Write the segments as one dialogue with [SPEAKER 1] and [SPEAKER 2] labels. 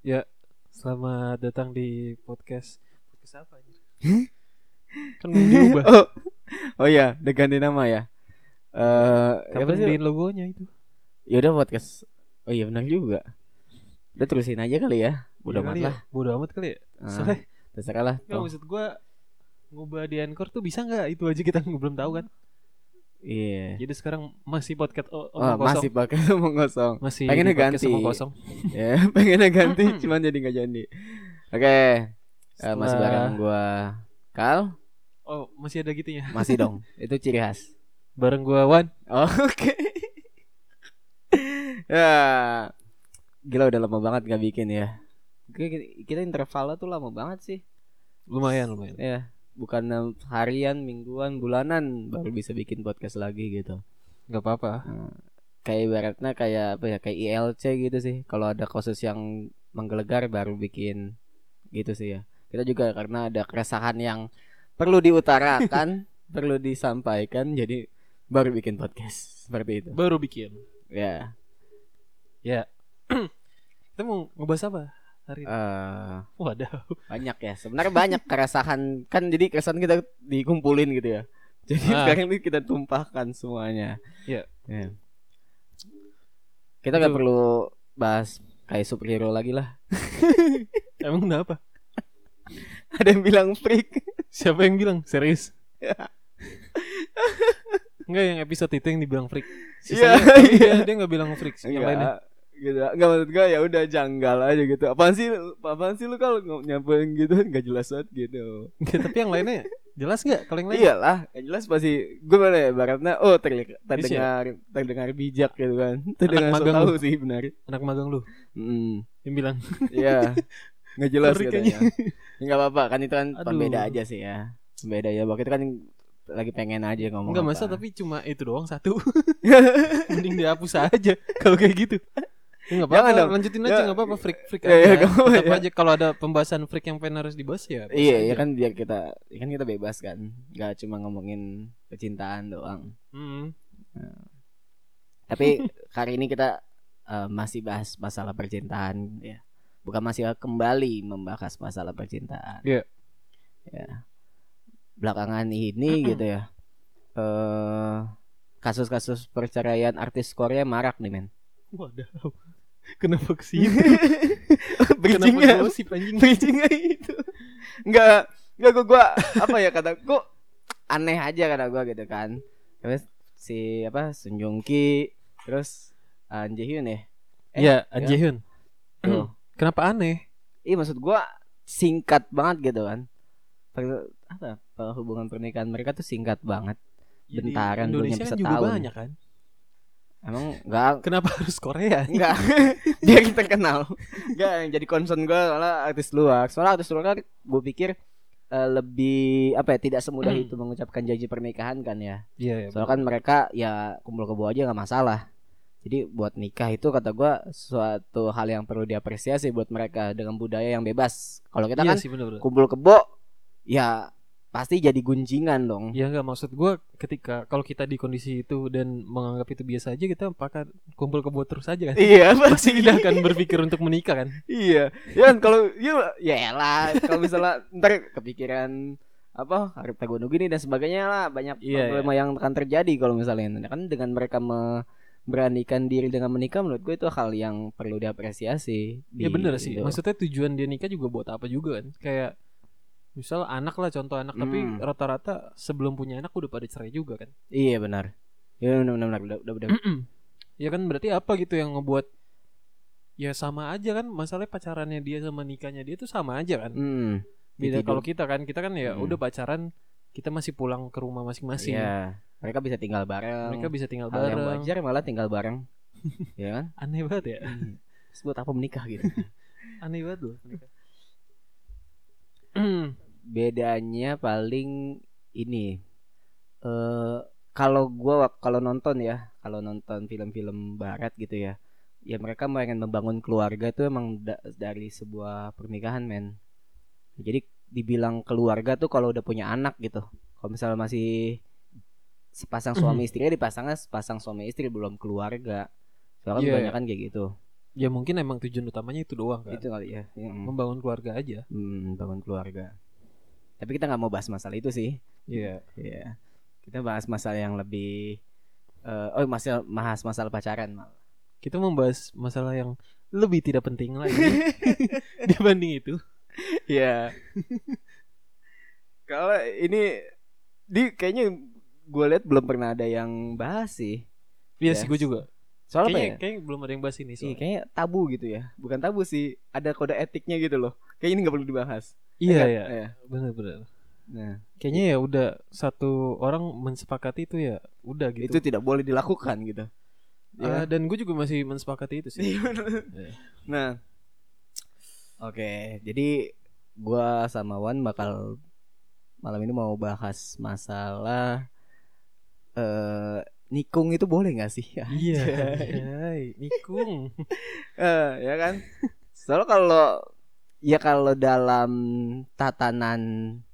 [SPEAKER 1] Ya, selamat datang di podcast. Podcast apa anjir? kan belum diubah.
[SPEAKER 2] oh. oh iya, udah ganti nama ya. Eh, apa
[SPEAKER 1] Kapan
[SPEAKER 2] sih?
[SPEAKER 1] diin logonya itu?
[SPEAKER 2] Ya udah podcast. Oh iya benar juga. Udah terusin aja kali ya.
[SPEAKER 1] Ya
[SPEAKER 2] Bodoh amat
[SPEAKER 1] kali ya.
[SPEAKER 2] lah.
[SPEAKER 1] Bodoh amat kali ya.
[SPEAKER 2] Ah,
[SPEAKER 1] Soalnya
[SPEAKER 2] terserah lah.
[SPEAKER 1] nggak,
[SPEAKER 2] toh.
[SPEAKER 1] maksud gua ngubah di Anchor tuh bisa nggak? Itu aja kita belum tahu kan.
[SPEAKER 2] Iya.
[SPEAKER 1] Jadi sekarang masih podcast o-
[SPEAKER 2] Oh,
[SPEAKER 1] omong kosong.
[SPEAKER 2] masih pakai omong kosong.
[SPEAKER 1] Masih
[SPEAKER 2] Pengennya
[SPEAKER 1] podcast
[SPEAKER 2] ganti.
[SPEAKER 1] omong kosong.
[SPEAKER 2] ya, pengennya ganti cuman jadi nggak jadi. Oke, eh, masih
[SPEAKER 1] Setelah-
[SPEAKER 2] bareng gua Kal,
[SPEAKER 1] Oh, masih ada gitunya.
[SPEAKER 2] masih dong. Itu ciri khas.
[SPEAKER 1] Bareng gua Wan.
[SPEAKER 2] Oh, Oke. ya. Gila udah lama banget gak bikin ya. Ki- Kita intervalnya tuh lama banget sih.
[SPEAKER 1] Lumayan, lumayan.
[SPEAKER 2] Ya, bukan harian, mingguan, bulanan baru bisa bikin podcast lagi gitu.
[SPEAKER 1] Gak apa-apa.
[SPEAKER 2] Kayak ibaratnya kayak apa ya? Kayak ILC gitu sih. Kalau ada kasus yang menggelegar baru bikin gitu sih ya. Kita juga karena ada keresahan yang perlu diutarakan, perlu disampaikan jadi baru bikin podcast seperti itu.
[SPEAKER 1] Baru bikin.
[SPEAKER 2] Ya.
[SPEAKER 1] Kita mau ngebahas apa hari ini?
[SPEAKER 2] eh
[SPEAKER 1] Wadah.
[SPEAKER 2] banyak ya sebenarnya banyak keresahan kan jadi keresahan kita dikumpulin gitu ya jadi
[SPEAKER 1] Ah.
[SPEAKER 2] sekarang ini kita tumpahkan semuanya
[SPEAKER 1] Iya.
[SPEAKER 2] Ya. kita nggak
[SPEAKER 1] Itu.
[SPEAKER 2] perlu bahas kayak superhero lagi lah
[SPEAKER 1] Emang kenapa?
[SPEAKER 2] ada yang bilang freak Iya,
[SPEAKER 1] Siapa yang bilang? Serius? Enggak yang episode itu yang dibilang freak. Sisanya,
[SPEAKER 2] Iya,
[SPEAKER 1] tapi
[SPEAKER 2] iya.
[SPEAKER 1] dia, dia enggak bilang freak yang lainnya.
[SPEAKER 2] Enggak, gitu nggak maksud gue ya udah janggal aja gitu apaan sih lu- apaan sih lu kalau ng- nyampein gitu nggak jelas banget gitu
[SPEAKER 1] Enggak, tapi yang lainnya jelas enggak kalau yang lain?
[SPEAKER 2] iyalah yang jelas pasti gue mana ya baratnya oh
[SPEAKER 1] Bisa
[SPEAKER 2] terlihat terdengar terdengar bijak gitu kan terdengar so
[SPEAKER 1] magang
[SPEAKER 2] tahu
[SPEAKER 1] lu.
[SPEAKER 2] sih benar
[SPEAKER 1] Anak magang lu
[SPEAKER 2] Mm.
[SPEAKER 1] yang bilang
[SPEAKER 2] Iya. Nggak jelas
[SPEAKER 1] Sorry
[SPEAKER 2] katanya. Ya, Nggak apa-apa kan itu kan
[SPEAKER 1] Aduh.
[SPEAKER 2] pembeda aja sih ya. Pembeda ya. Waktu itu kan lagi pengen aja ngomong.
[SPEAKER 1] enggak
[SPEAKER 2] apa.
[SPEAKER 1] masa tapi cuma itu doang satu. Mending dihapus aja kalau kayak gitu. Ya, enggak
[SPEAKER 2] Jangan
[SPEAKER 1] apa-apa,
[SPEAKER 2] dong.
[SPEAKER 1] lanjutin
[SPEAKER 2] Ya.
[SPEAKER 1] aja enggak apa-apa freak freak
[SPEAKER 2] Ya,
[SPEAKER 1] aja.
[SPEAKER 2] ya, nggak apa-apa,
[SPEAKER 1] Tetap
[SPEAKER 2] ya.
[SPEAKER 1] aja kalau ada pembahasan freak yang pengen harus dibahas ya. bahas
[SPEAKER 2] Iya, iya
[SPEAKER 1] aja.
[SPEAKER 2] kan biar kita ya kan kita bebas kan. Nggak cuma ngomongin percintaan doang.
[SPEAKER 1] Mm.
[SPEAKER 2] Tapi kali ini kita eh, masih bahas masalah percintaan
[SPEAKER 1] Iya.
[SPEAKER 2] ya. Bukan masih kembali membahas masalah percintaan.
[SPEAKER 1] Iya.
[SPEAKER 2] Ya. Belakangan ini gitu ya. Eh kasus-kasus perceraian artis Korea marak nih men.
[SPEAKER 1] Wadah. Kenapa ke situ? Iya. Kenapa
[SPEAKER 2] bridgingnya
[SPEAKER 1] gosip anjing?
[SPEAKER 2] bridgingnya itu nggak nggak gua, gua apa ya kata kok aneh aja kata gua gitu kan terus si apa Sun Jong Ki terus uh, An Ji Hyun ya Eh,
[SPEAKER 1] Iya, An Ji Hyun.
[SPEAKER 2] tuh
[SPEAKER 1] Hmm. Kenapa aneh?
[SPEAKER 2] iya maksud gua singkat banget gitu kan Per- apa per- hubungan pernikahan mereka tuh singkat banget
[SPEAKER 1] Ya, di
[SPEAKER 2] Bentaran, belum
[SPEAKER 1] Indonesia
[SPEAKER 2] nyampe
[SPEAKER 1] kan juga
[SPEAKER 2] setahun.
[SPEAKER 1] banyak kan.
[SPEAKER 2] emang nggak
[SPEAKER 1] Kenapa harus Korea?
[SPEAKER 2] nggak biar terkenal nggak yang jadi concern gua soalnya artis luar soalnya artis luar kan gua pikir eh, lebih apa ya tidak semudah itu mengucapkan janji pernikahan kan ya
[SPEAKER 1] Iya,
[SPEAKER 2] Soalnya kan mereka ya kumpul kebo aja nggak masalah. Jadi buat nikah itu kata gua suatu hal yang perlu diapresiasi buat mereka dengan budaya yang bebas. Kalau kita
[SPEAKER 1] iya
[SPEAKER 2] kan
[SPEAKER 1] sih bener-bener.
[SPEAKER 2] kumpul kebo ya pasti jadi gunjingan dong.
[SPEAKER 1] Ya nggak maksud gua ketika kalau kita di kondisi itu dan menganggap itu biasa aja kita pakai kumpul kebo terus aja kan.
[SPEAKER 2] Iya pasti
[SPEAKER 1] Tidak akan berpikir untuk menikah kan.
[SPEAKER 2] Iya. Ya kan kalau ya ya lah kalau misalnya ntar kepikiran apa harta gunung gini dan sebagainya lah banyak
[SPEAKER 1] Iya,
[SPEAKER 2] problema yang akan terjadi kalau misalnya kan dengan mereka me- beranikan diri dengan menikah menurut gue itu hal yang perlu diapresiasi.
[SPEAKER 1] Ya
[SPEAKER 2] di-
[SPEAKER 1] bener sih.
[SPEAKER 2] itu.
[SPEAKER 1] Maksudnya tujuan dia nikah juga buat apa juga kan? Kayak misal anak lah contoh anak tapi
[SPEAKER 2] Hmm.
[SPEAKER 1] rata-rata sebelum punya anak udah pada cerai juga kan.
[SPEAKER 2] Iya benar. Iya benar benar benar. Udah, udah, udah.
[SPEAKER 1] ya kan berarti apa gitu yang ngebuat ya sama aja kan masalahnya pacarannya dia sama nikahnya dia tuh sama aja kan.
[SPEAKER 2] Hmm.
[SPEAKER 1] beda
[SPEAKER 2] Ditidur.
[SPEAKER 1] kalau kita kan kita kan ya
[SPEAKER 2] Hmm.
[SPEAKER 1] udah pacaran kita masih pulang ke rumah masing-masing
[SPEAKER 2] Iya. Mereka bisa tinggal bareng.
[SPEAKER 1] mereka bisa tinggal
[SPEAKER 2] hal yang
[SPEAKER 1] bareng
[SPEAKER 2] wajar malah tinggal bareng. Iya kan?
[SPEAKER 1] aneh banget ya
[SPEAKER 2] Terus buat apa menikah gitu?
[SPEAKER 1] aneh banget loh mereka.
[SPEAKER 2] bedanya paling ini eh kalau gua wak- kalau nonton ya kalau nonton film-film barat gitu ya ya mereka pengen membangun keluarga tuh emang da- dari sebuah pernikahan men jadi dibilang keluarga tuh kalau udah punya anak gitu kalau misalnya masih
[SPEAKER 1] Mhm.
[SPEAKER 2] sepasang suami istri dipasangnya sepasang suami istri belum keluarga soalnya kan
[SPEAKER 1] Iya,
[SPEAKER 2] kebanyakan kayak gitu
[SPEAKER 1] ya mungkin emang tujuan utamanya itu doang kan
[SPEAKER 2] itu kali ya Mm,
[SPEAKER 1] membangun keluarga aja
[SPEAKER 2] mm, bangun keluarga tapi kita nggak mau bahas masalah itu sih
[SPEAKER 1] Iya
[SPEAKER 2] Iya. Kita bahas masalah yang lebih eh, oh masalah bahas masalah pacaran mal.
[SPEAKER 1] kita membahas masalah yang lebih tidak penting lagi dibanding itu
[SPEAKER 2] Iya. Kalau ini di kayaknya gue lihat belum pernah ada yang bahas sih.
[SPEAKER 1] Iya
[SPEAKER 2] Ya.
[SPEAKER 1] sih gue juga
[SPEAKER 2] Soal
[SPEAKER 1] kayaknya,
[SPEAKER 2] apa ya?
[SPEAKER 1] kayaknya belum ada yang bahas ini
[SPEAKER 2] Iya,
[SPEAKER 1] soalnya.
[SPEAKER 2] kayaknya tabu gitu ya. Bukan tabu sih, ada kode etiknya gitu loh. Kayak ini nggak perlu dibahas.
[SPEAKER 1] Iya
[SPEAKER 2] kan?
[SPEAKER 1] iya
[SPEAKER 2] Iya.
[SPEAKER 1] benar-benar
[SPEAKER 2] Nah,
[SPEAKER 1] kayaknya ya udah satu orang mensepakati itu ya udah gitu
[SPEAKER 2] itu tidak boleh dilakukan gitu.
[SPEAKER 1] Ah,
[SPEAKER 2] Iya.
[SPEAKER 1] dan gue juga masih mensepakati itu sih Iya.
[SPEAKER 2] Nah, oke, jadi gua sama Wan bakal malam ini mau bahas masalah eh nikung itu boleh nggak sih? Ya,
[SPEAKER 1] Iya, anjay, nikung.
[SPEAKER 2] Eh, ya kan? Soalnya kalau ya kalau dalam tatanan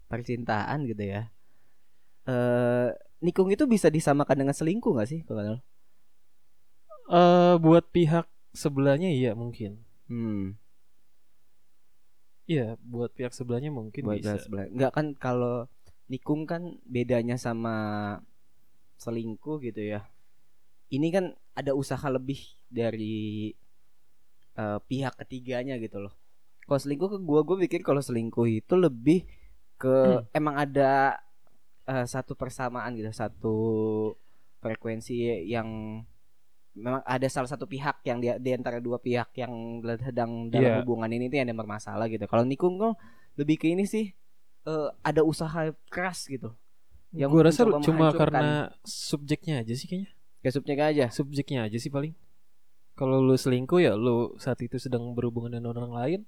[SPEAKER 2] percintaan gitu ya, eh nikung itu bisa disamakan dengan selingkuh nggak sih, Bang Anul?
[SPEAKER 1] Eh, buat pihak sebelahnya iya mungkin.
[SPEAKER 2] Hmm.
[SPEAKER 1] Iya, buat pihak sebelahnya mungkin
[SPEAKER 2] buat
[SPEAKER 1] bisa.
[SPEAKER 2] bahas sebelah- Enggak kan kalau nikung kan bedanya sama selingkuh gitu ya. Ini kan ada usaha lebih dari eh, pihak ketiganya gitu loh. Kalau selingkuh ke gua gua pikir kalau selingkuh itu lebih
[SPEAKER 1] Hmm.
[SPEAKER 2] ke emang ada eh, satu persamaan gitu, satu frekuensi yang memang ada salah satu pihak yang di, di antara dua pihak yang sedang dalam
[SPEAKER 1] Iya.
[SPEAKER 2] hubungan ini tuh yang ada bermasalah gitu. Kalau nikung kan lebih ke ini sih eh, ada usaha keras gitu.
[SPEAKER 1] Yang
[SPEAKER 2] Yang
[SPEAKER 1] gue rasa
[SPEAKER 2] mencoba
[SPEAKER 1] cuma
[SPEAKER 2] menghancurkan.
[SPEAKER 1] karena subjeknya aja sih kayaknya. Eh,
[SPEAKER 2] Kesupnya kan aja.
[SPEAKER 1] Subjeknya aja sih paling. Kalau lu selingkuh ya lu saat itu sedang berhubungan dengan orang lain.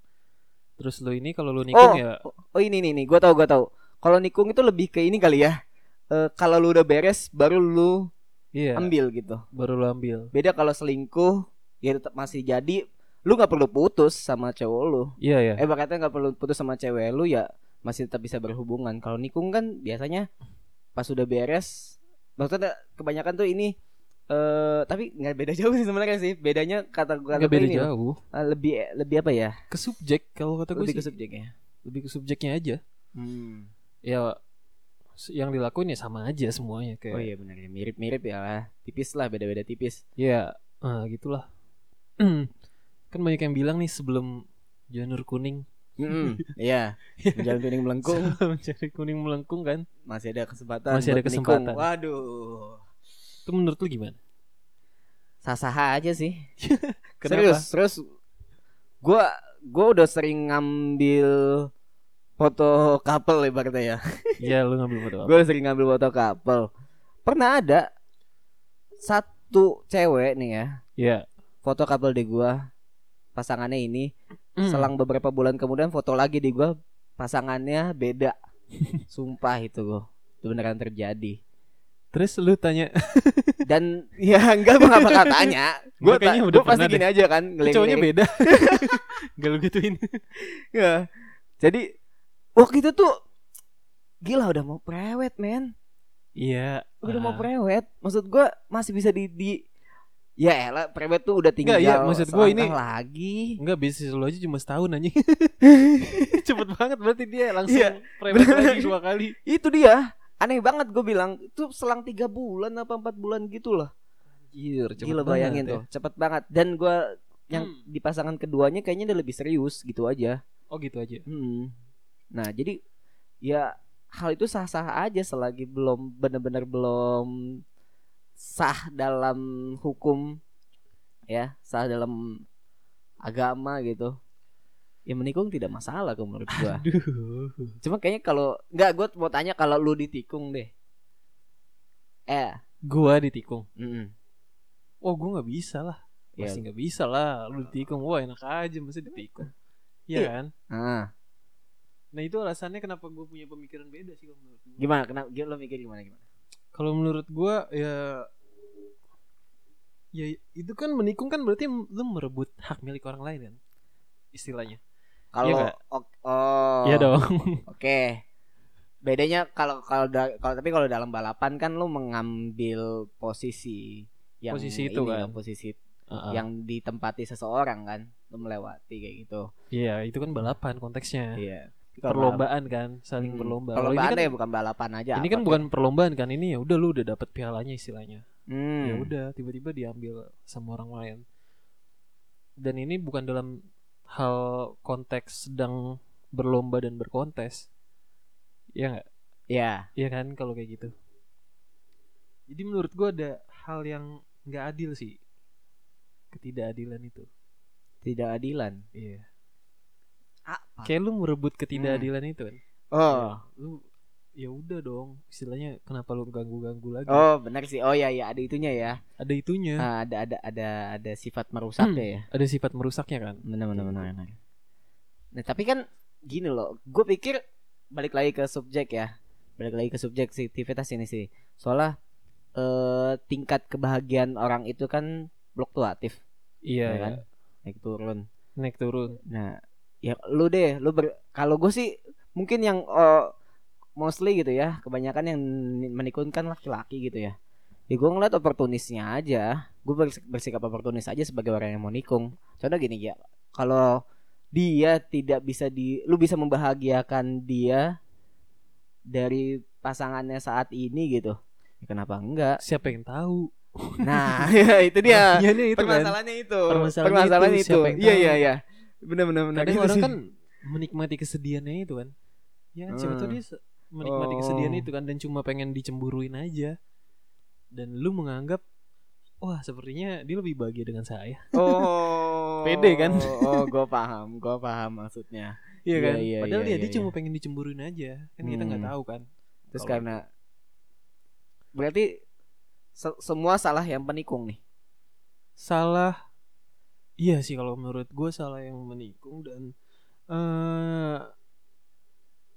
[SPEAKER 1] Terus lu ini kalau lu nikung ya
[SPEAKER 2] Oh ini nih nih, gue tau gue tau. Kalau nikung itu lebih ke ini kali ya. Eh, kalau lu udah beres baru lu
[SPEAKER 1] iya
[SPEAKER 2] ambil gitu.
[SPEAKER 1] baru lu ambil.
[SPEAKER 2] Beda kalau selingkuh ya tetap masih jadi. Lu nggak perlu putus sama cowok lu.
[SPEAKER 1] Iya ya.
[SPEAKER 2] Eh bahkan nggak perlu putus sama cewek lu ya masih tetap bisa berhubungan. Kalau nikung kan biasanya pas udah beres. Maksudnya kebanyakan tuh ini eh tapi nggak beda jauh sih sebenarnya sih. Bedanya kata gue
[SPEAKER 1] Nggak beda jauh.
[SPEAKER 2] Eh, lebih lebih apa ya?
[SPEAKER 1] Ke subjek kalau kata gue
[SPEAKER 2] lebih ke
[SPEAKER 1] sih.
[SPEAKER 2] subjeknya.
[SPEAKER 1] Lebih ke subjeknya aja. Ya s- yang dilakuin ya sama aja semuanya kayak.
[SPEAKER 2] Oh iya benar ya mirip-mirip ya lah. tipis lah beda-beda tipis.
[SPEAKER 1] Ya, eh, gitulah. kan banyak yang bilang nih sebelum janur kuning,
[SPEAKER 2] Mm-mm, Iya jalan kuning melengkung
[SPEAKER 1] sebelum janur kuning melengkung kan.
[SPEAKER 2] masih ada kesempatan.
[SPEAKER 1] Masih ada
[SPEAKER 2] buat menikung.
[SPEAKER 1] kesempatan.
[SPEAKER 2] Waduh,
[SPEAKER 1] Itu menurut lu gimana?
[SPEAKER 2] sah-sah aja sih.
[SPEAKER 1] Kenapa?
[SPEAKER 2] Serius, serius. Gua gua udah sering ngambil foto couple ibaratnya ya.
[SPEAKER 1] Iya, lu ngambil foto apa?
[SPEAKER 2] Gue sering ngambil foto couple. Pernah ada satu cewek nih ya,
[SPEAKER 1] Iya.
[SPEAKER 2] foto couple di gua pasangannya ini
[SPEAKER 1] Mm.
[SPEAKER 2] Selang beberapa bulan kemudian foto lagi di gua pasangannya beda. Sumpah itu gua. Itu beneran terjadi.
[SPEAKER 1] Terus lu tanya,
[SPEAKER 2] Dan ya enggak gua enggak bakal tanya.
[SPEAKER 1] Gua
[SPEAKER 2] Gua
[SPEAKER 1] kayaknya
[SPEAKER 2] ta-
[SPEAKER 1] udah
[SPEAKER 2] gua pasti
[SPEAKER 1] pernah
[SPEAKER 2] gini aja kan
[SPEAKER 1] "Ini cowoknya
[SPEAKER 2] ngeling-ngeling.
[SPEAKER 1] beda. Gak lu gituin.
[SPEAKER 2] Ya. Jadi waktu itu tuh gila udah mau prewed, men.
[SPEAKER 1] Iya.
[SPEAKER 2] Udah
[SPEAKER 1] ah.
[SPEAKER 2] mau prewed. Maksud gua masih bisa di, di- Ya elah prewed tuh udah tinggal
[SPEAKER 1] Enggak, iya, maksud gua ini-
[SPEAKER 2] selangkah lagi.
[SPEAKER 1] Enggak, bisnis lu aja cuma setahun anjing. Cepet banget berarti dia langsung
[SPEAKER 2] Iya,
[SPEAKER 1] private
[SPEAKER 2] bener.
[SPEAKER 1] lagi dua kali.
[SPEAKER 2] Itu dia. Aneh banget gue bilang Itu selang tiga bulan apa empat bulan gitu lah
[SPEAKER 1] Anjir, cepet
[SPEAKER 2] Gila
[SPEAKER 1] banget
[SPEAKER 2] bayangin
[SPEAKER 1] ya.
[SPEAKER 2] tuh, cepet banget. Dan gua yang
[SPEAKER 1] Hmm.
[SPEAKER 2] di pasangan keduanya kayaknya udah lebih serius gitu aja.
[SPEAKER 1] Oh gitu aja.
[SPEAKER 2] Hmm. Nah jadi ya hal itu sah-sah aja selagi belum bener-bener belum sah dalam hukum ya sah dalam agama gitu ya menikung tidak masalah kalau menurut gua
[SPEAKER 1] Aduh.
[SPEAKER 2] cuma kayaknya kalau nggak gua mau tanya kalau lu ditikung deh eh
[SPEAKER 1] Gua ditikung.
[SPEAKER 2] mm-mm.
[SPEAKER 1] Oh gue nggak bisa lah
[SPEAKER 2] Ya.
[SPEAKER 1] Pasti nggak bisa lah Lu ditikung Wah enak aja Masa ditikung Iya
[SPEAKER 2] Iya.
[SPEAKER 1] kan
[SPEAKER 2] ah
[SPEAKER 1] Nah itu alasannya kenapa gue punya pemikiran beda sih kalau menurut gue
[SPEAKER 2] gimana kenapa gimana- lu mikir gimana
[SPEAKER 1] Iya
[SPEAKER 2] gimana
[SPEAKER 1] Kalau menurut gue ya Ya itu kan menikung kan berarti lu merebut hak milik orang lain kan Istilahnya
[SPEAKER 2] Kalau
[SPEAKER 1] Iya nggak?
[SPEAKER 2] ok- oh.
[SPEAKER 1] Iya dong
[SPEAKER 2] Oke. Bedanya kalau kalau da- kalau tapi kalau dalam balapan kan lu mengambil posisi yang
[SPEAKER 1] Posisi itu
[SPEAKER 2] ini
[SPEAKER 1] kan.
[SPEAKER 2] posisi
[SPEAKER 1] Heeh.
[SPEAKER 2] yang ditempati seseorang kan lu melewati kayak gitu
[SPEAKER 1] Iya, itu kan balapan konteksnya.
[SPEAKER 2] iya
[SPEAKER 1] Perlombaan kan, saling
[SPEAKER 2] Hmm.
[SPEAKER 1] berlomba. Kalau
[SPEAKER 2] perlombaan
[SPEAKER 1] ini
[SPEAKER 2] deh
[SPEAKER 1] kan,
[SPEAKER 2] bukan balapan aja
[SPEAKER 1] ini
[SPEAKER 2] apa
[SPEAKER 1] kan
[SPEAKER 2] tuh?
[SPEAKER 1] bukan perlombaan kan, ini ya udah lu udah dapet pialanya istilahnya.
[SPEAKER 2] Hmm.
[SPEAKER 1] Ya udah, tiba-tiba diambil sama orang lain. Dan ini bukan dalam hal konteks sedang berlomba dan berkontes. Iya nggak?
[SPEAKER 2] ya
[SPEAKER 1] Iya kan kalau kayak gitu. Jadi menurut gua ada hal yang nggak adil sih. Ketidakadilan itu.
[SPEAKER 2] tidak adilan
[SPEAKER 1] Iya.
[SPEAKER 2] apa
[SPEAKER 1] Kayak lu merebut ketidakadilan itu kan.
[SPEAKER 2] oh
[SPEAKER 1] Lu ya udah dong, istilahnya kenapa lu ganggu-ganggu lagi?
[SPEAKER 2] oh benar sih oh ya ya ada itunya ya
[SPEAKER 1] Ada itunya,
[SPEAKER 2] Ah, ada ada ada ada sifat merusaknya ya
[SPEAKER 1] ada sifat merusaknya kan.
[SPEAKER 2] benar benar benar benar. Gitu. nah tapi kan gini loh gue pikir balik lagi ke subjek ya balik lagi ke subjektivitas ini sih soalnya eh, tingkat kebahagiaan orang itu kan fluktuatif
[SPEAKER 1] Iya
[SPEAKER 2] ya
[SPEAKER 1] kan?
[SPEAKER 2] kan naik turun
[SPEAKER 1] Naik turun.
[SPEAKER 2] nah ya lu deh lu ber kalau gue sih mungkin yang eh, mostly gitu ya kebanyakan yang menikunkan laki-laki gitu ya ya gue ngeliat oportunisnya aja gue bersikap oportunis aja sebagai orang yang mau nikung contoh gini ya kalau dia tidak bisa di lu bisa membahagiakan dia dari pasangannya saat ini gitu ya, kenapa enggak
[SPEAKER 1] Siapa yang tahu?
[SPEAKER 2] nah ya, itu dia
[SPEAKER 1] Iya, nih, itu kan.
[SPEAKER 2] permasalahannya itu
[SPEAKER 1] Permasalahannya
[SPEAKER 2] permasalahan
[SPEAKER 1] itu,
[SPEAKER 2] itu
[SPEAKER 1] siapa yang
[SPEAKER 2] iya
[SPEAKER 1] tahu?
[SPEAKER 2] iya iya benar-benar benar
[SPEAKER 1] Kadang
[SPEAKER 2] gitu
[SPEAKER 1] orang
[SPEAKER 2] sih.
[SPEAKER 1] kan menikmati kesedihannya itu kan. Ya, siapa tahu
[SPEAKER 2] Hmm.
[SPEAKER 1] dia se- menikmati
[SPEAKER 2] Oh.
[SPEAKER 1] kesedihan itu kan dan cuma pengen dicemburuin aja. Dan lu menganggap wah, sepertinya dia lebih bahagia dengan saya.
[SPEAKER 2] Oh.
[SPEAKER 1] Pede kan?
[SPEAKER 2] Oh, gue paham, gue paham maksudnya.
[SPEAKER 1] Iya
[SPEAKER 2] Iya,
[SPEAKER 1] kan?
[SPEAKER 2] iya,
[SPEAKER 1] Padahal
[SPEAKER 2] iya,
[SPEAKER 1] dia,
[SPEAKER 2] iya,
[SPEAKER 1] dia
[SPEAKER 2] iya.
[SPEAKER 1] cuma pengen dicemburuin aja. Kan kita nggak
[SPEAKER 2] Hmm.
[SPEAKER 1] tahu kan.
[SPEAKER 2] Terus
[SPEAKER 1] Kalau-
[SPEAKER 2] karena berarti se- semua salah yang penikung nih.
[SPEAKER 1] Salah Iya sih kalau menurut gue salah yang menikung dan eh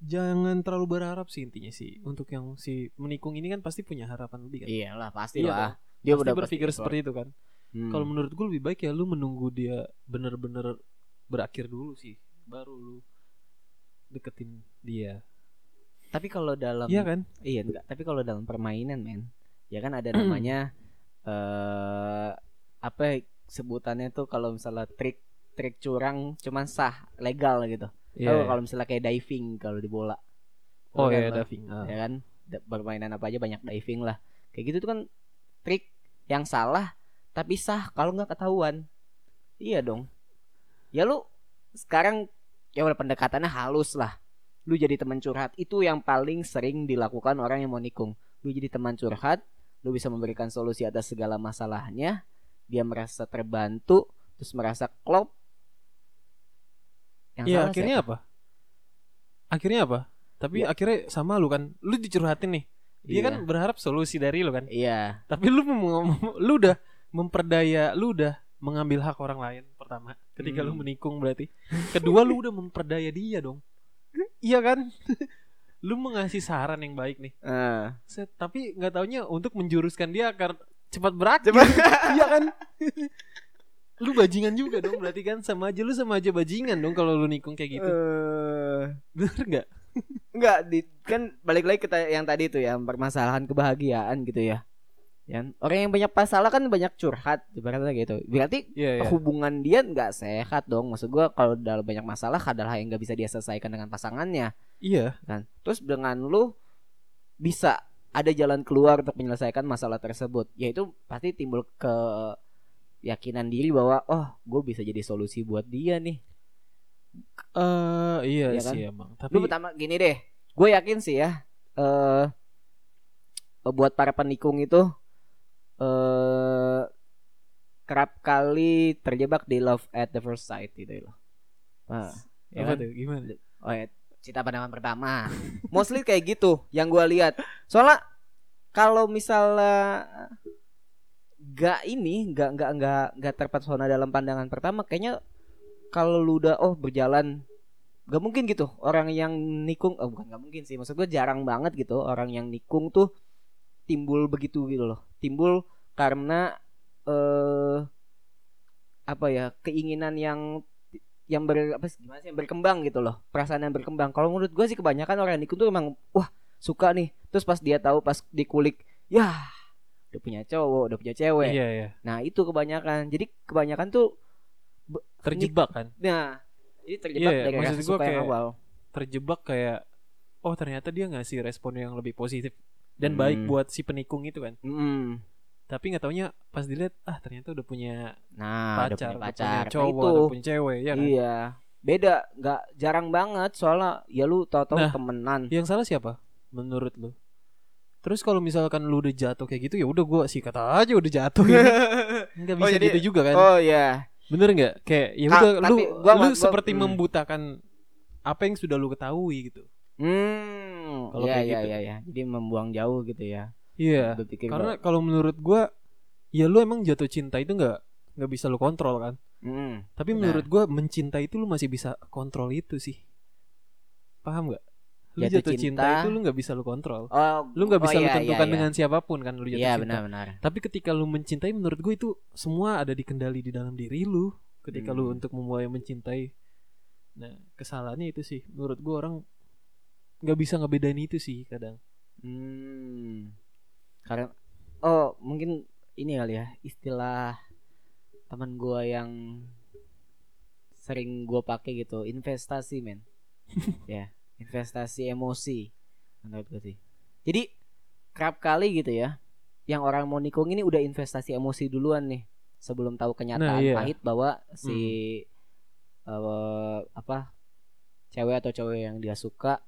[SPEAKER 1] jangan terlalu berharap sih intinya sih untuk yang si menikung ini kan pasti punya harapan lebih kan.
[SPEAKER 2] Iyalah,
[SPEAKER 1] Iya
[SPEAKER 2] pastilah.
[SPEAKER 1] dong.
[SPEAKER 2] ah. Dia
[SPEAKER 1] pasti
[SPEAKER 2] udah
[SPEAKER 1] berpikir seperti itu kan. Kalau
[SPEAKER 2] Hmm.
[SPEAKER 1] menurut gue lebih baik ya lu menunggu dia bener-bener berakhir dulu sih, baru lu deketin dia.
[SPEAKER 2] tapi kalau dalam
[SPEAKER 1] Iya kan?
[SPEAKER 2] Iya, enggak. Tapi kalau dalam permainan, men, ya kan ada namanya eh apa ya, sebutannya tuh kalau misalnya trik trik curang cuman sah legal gitu. Tahu kalau misalnya kayak diving kalau di bola.
[SPEAKER 1] Iya. Oh
[SPEAKER 2] Tahu kan
[SPEAKER 1] ya
[SPEAKER 2] lo?
[SPEAKER 1] diving. Ah.
[SPEAKER 2] ya kan Da- permainan apa aja banyak diving lah kayak gitu tuh kan trik yang salah tapi sah kalau nggak ketahuan iya dong ya lu sekarang ya udah pendekatannya halus lah lu jadi teman curhat itu yang paling sering dilakukan orang yang mau nikung lu jadi teman curhat lu bisa memberikan solusi atas segala masalahnya dia merasa terbantu terus merasa klop yang
[SPEAKER 1] Iya,
[SPEAKER 2] salah
[SPEAKER 1] akhirnya apa? Akhirnya apa? Tapi akhirnya sama lu kan. Lu dicurhatin nih.
[SPEAKER 2] siapa?
[SPEAKER 1] Dia
[SPEAKER 2] Ya. Iya.
[SPEAKER 1] kan berharap solusi dari lu kan.
[SPEAKER 2] iya
[SPEAKER 1] Tapi lu mem- lu udah memperdaya, lu udah mengambil hak orang lain pertama. Ketika lu
[SPEAKER 2] Hmm.
[SPEAKER 1] menikung berarti. Kedua lu udah memperdaya dia dong. Iya kan? lu mengasih saran yang baik nih.
[SPEAKER 2] Eh.
[SPEAKER 1] Set, tapi nggak taunya untuk menjuruskan dia akan cepat berakhir.
[SPEAKER 2] Cepat.
[SPEAKER 1] iya kan? lu bajingan juga dong berarti kan sama aja lu sama aja bajingan dong kalau lu nikung kayak gitu.
[SPEAKER 2] Eh.
[SPEAKER 1] Bener nggak?
[SPEAKER 2] Enggak, di, kan balik lagi ke ta- yang tadi itu ya, permasalahan kebahagiaan gitu ya. Ya, orang yang banyak masalah kan banyak curhat, ibaratnya gitu. Berarti
[SPEAKER 1] Iya, iya.
[SPEAKER 2] hubungan dia nggak sehat dong. Maksud gua kalau dalam banyak masalah adalah yang nggak bisa dia selesaikan dengan pasangannya,
[SPEAKER 1] Iya.
[SPEAKER 2] kan. Terus dengan lu bisa ada jalan keluar untuk menyelesaikan masalah tersebut, yaitu pasti timbul ke yakinan diri bahwa oh, gue bisa jadi solusi buat dia nih.
[SPEAKER 1] Eh iya
[SPEAKER 2] Iya
[SPEAKER 1] sih emang. Tapi
[SPEAKER 2] Lu pertama gini deh, gue yakin sih ya, eh buat para penikung itu eh kerap kali terjebak di love at the first sight gitu loh. Ah, ya
[SPEAKER 1] apa
[SPEAKER 2] kan?
[SPEAKER 1] tuh gimana?
[SPEAKER 2] Oh ya, cinta pandangan pertama. Mostly kayak gitu yang gue lihat. Soalnya kalau misalnya gak ini gak gak gak gak terpesona dalam pandangan pertama kayaknya kalau lu udah oh berjalan gak mungkin gitu orang yang nikung oh bukan gak mungkin sih maksud gue jarang banget gitu orang yang nikung tuh timbul begitu gitu loh timbul karena eh apa ya keinginan yang yang ber apa sih, gimana sih yang berkembang gitu loh perasaan yang berkembang kalau menurut gue sih kebanyakan orang yang nikung tuh emang wah suka nih terus pas dia tahu pas dikulik ya udah punya cowok udah punya cewek
[SPEAKER 1] Iya ya.
[SPEAKER 2] nah itu kebanyakan jadi kebanyakan tuh
[SPEAKER 1] Terjebak kan?
[SPEAKER 2] nah ini terjebak
[SPEAKER 1] Iya,
[SPEAKER 2] dari
[SPEAKER 1] maksud
[SPEAKER 2] rasa
[SPEAKER 1] gua
[SPEAKER 2] suka yang
[SPEAKER 1] kayak-
[SPEAKER 2] awal
[SPEAKER 1] Terjebak kayak oh ternyata dia ngasih respon yang lebih positif dan
[SPEAKER 2] Hmm.
[SPEAKER 1] baik buat si penikung itu kan.
[SPEAKER 2] Mm-mm.
[SPEAKER 1] Tapi nggak taunya pas dilihat ah ternyata udah punya
[SPEAKER 2] nah udah
[SPEAKER 1] pacar,
[SPEAKER 2] punya
[SPEAKER 1] udah punya
[SPEAKER 2] pacar Nah,
[SPEAKER 1] cowok,
[SPEAKER 2] itu
[SPEAKER 1] udah punya cewek ya kan.
[SPEAKER 2] iya beda nggak jarang banget soalnya ya lu tau-tau
[SPEAKER 1] Nah.
[SPEAKER 2] temenan
[SPEAKER 1] Yang salah siapa menurut lu? Terus kalau misalkan lu udah jatuh kayak gitu ya udah gua sih kata aja udah jatuh ya. Enggak
[SPEAKER 2] Oh,
[SPEAKER 1] bisa
[SPEAKER 2] jadi-
[SPEAKER 1] gitu juga kan.
[SPEAKER 2] oh ya
[SPEAKER 1] Bener nggak? Kayak ya
[SPEAKER 2] Ah,
[SPEAKER 1] udah lu
[SPEAKER 2] tapi gua-
[SPEAKER 1] lu
[SPEAKER 2] gua-
[SPEAKER 1] seperti
[SPEAKER 2] hmm.
[SPEAKER 1] membutakan apa yang sudah lu ketahui gitu.
[SPEAKER 2] hmm
[SPEAKER 1] Kalau
[SPEAKER 2] iya
[SPEAKER 1] kayak
[SPEAKER 2] iya
[SPEAKER 1] gitu.
[SPEAKER 2] iya iya. jadi membuang jauh gitu ya
[SPEAKER 1] Iya.
[SPEAKER 2] berpikir
[SPEAKER 1] Karena kalau menurut gua ya lu emang jatuh cinta itu nggak nggak bisa lu kontrol kan.
[SPEAKER 2] bahwa- hmm. Mm-mm.
[SPEAKER 1] Tapi
[SPEAKER 2] Benar.
[SPEAKER 1] menurut gua mencintai itu lu masih bisa kontrol itu sih. Paham nggak? Lu
[SPEAKER 2] Jatuh
[SPEAKER 1] jatuh, cinta, itu
[SPEAKER 2] cinta.
[SPEAKER 1] lu nggak bisa lu kontrol.
[SPEAKER 2] oh
[SPEAKER 1] Lu nggak
[SPEAKER 2] oh,
[SPEAKER 1] bisa lu
[SPEAKER 2] iya, iya,
[SPEAKER 1] tentukan
[SPEAKER 2] iya.
[SPEAKER 1] dengan siapapun kan lu jatuh
[SPEAKER 2] iya
[SPEAKER 1] cinta.
[SPEAKER 2] benar-benar
[SPEAKER 1] Tapi ketika lu mencintai menurut gue itu semua ada dikendali di dalam diri lu ketika lu
[SPEAKER 2] Hmm.
[SPEAKER 1] untuk memulai mencintai. Nah, kesalahannya itu sih menurut gue orang nggak bisa ngebedain itu sih kadang.
[SPEAKER 2] Hmm. Karena oh, mungkin ini kali ya, istilah teman gua yang sering gua pakai gitu, investasi, men. ya, investasi emosi menurut gua sih. Jadi kerap kali gitu ya, yang orang mau nikung ini udah investasi emosi duluan nih sebelum tahu kenyataan
[SPEAKER 1] iya.
[SPEAKER 2] pahit bahwa si eh, apa cewek atau cowok yang dia suka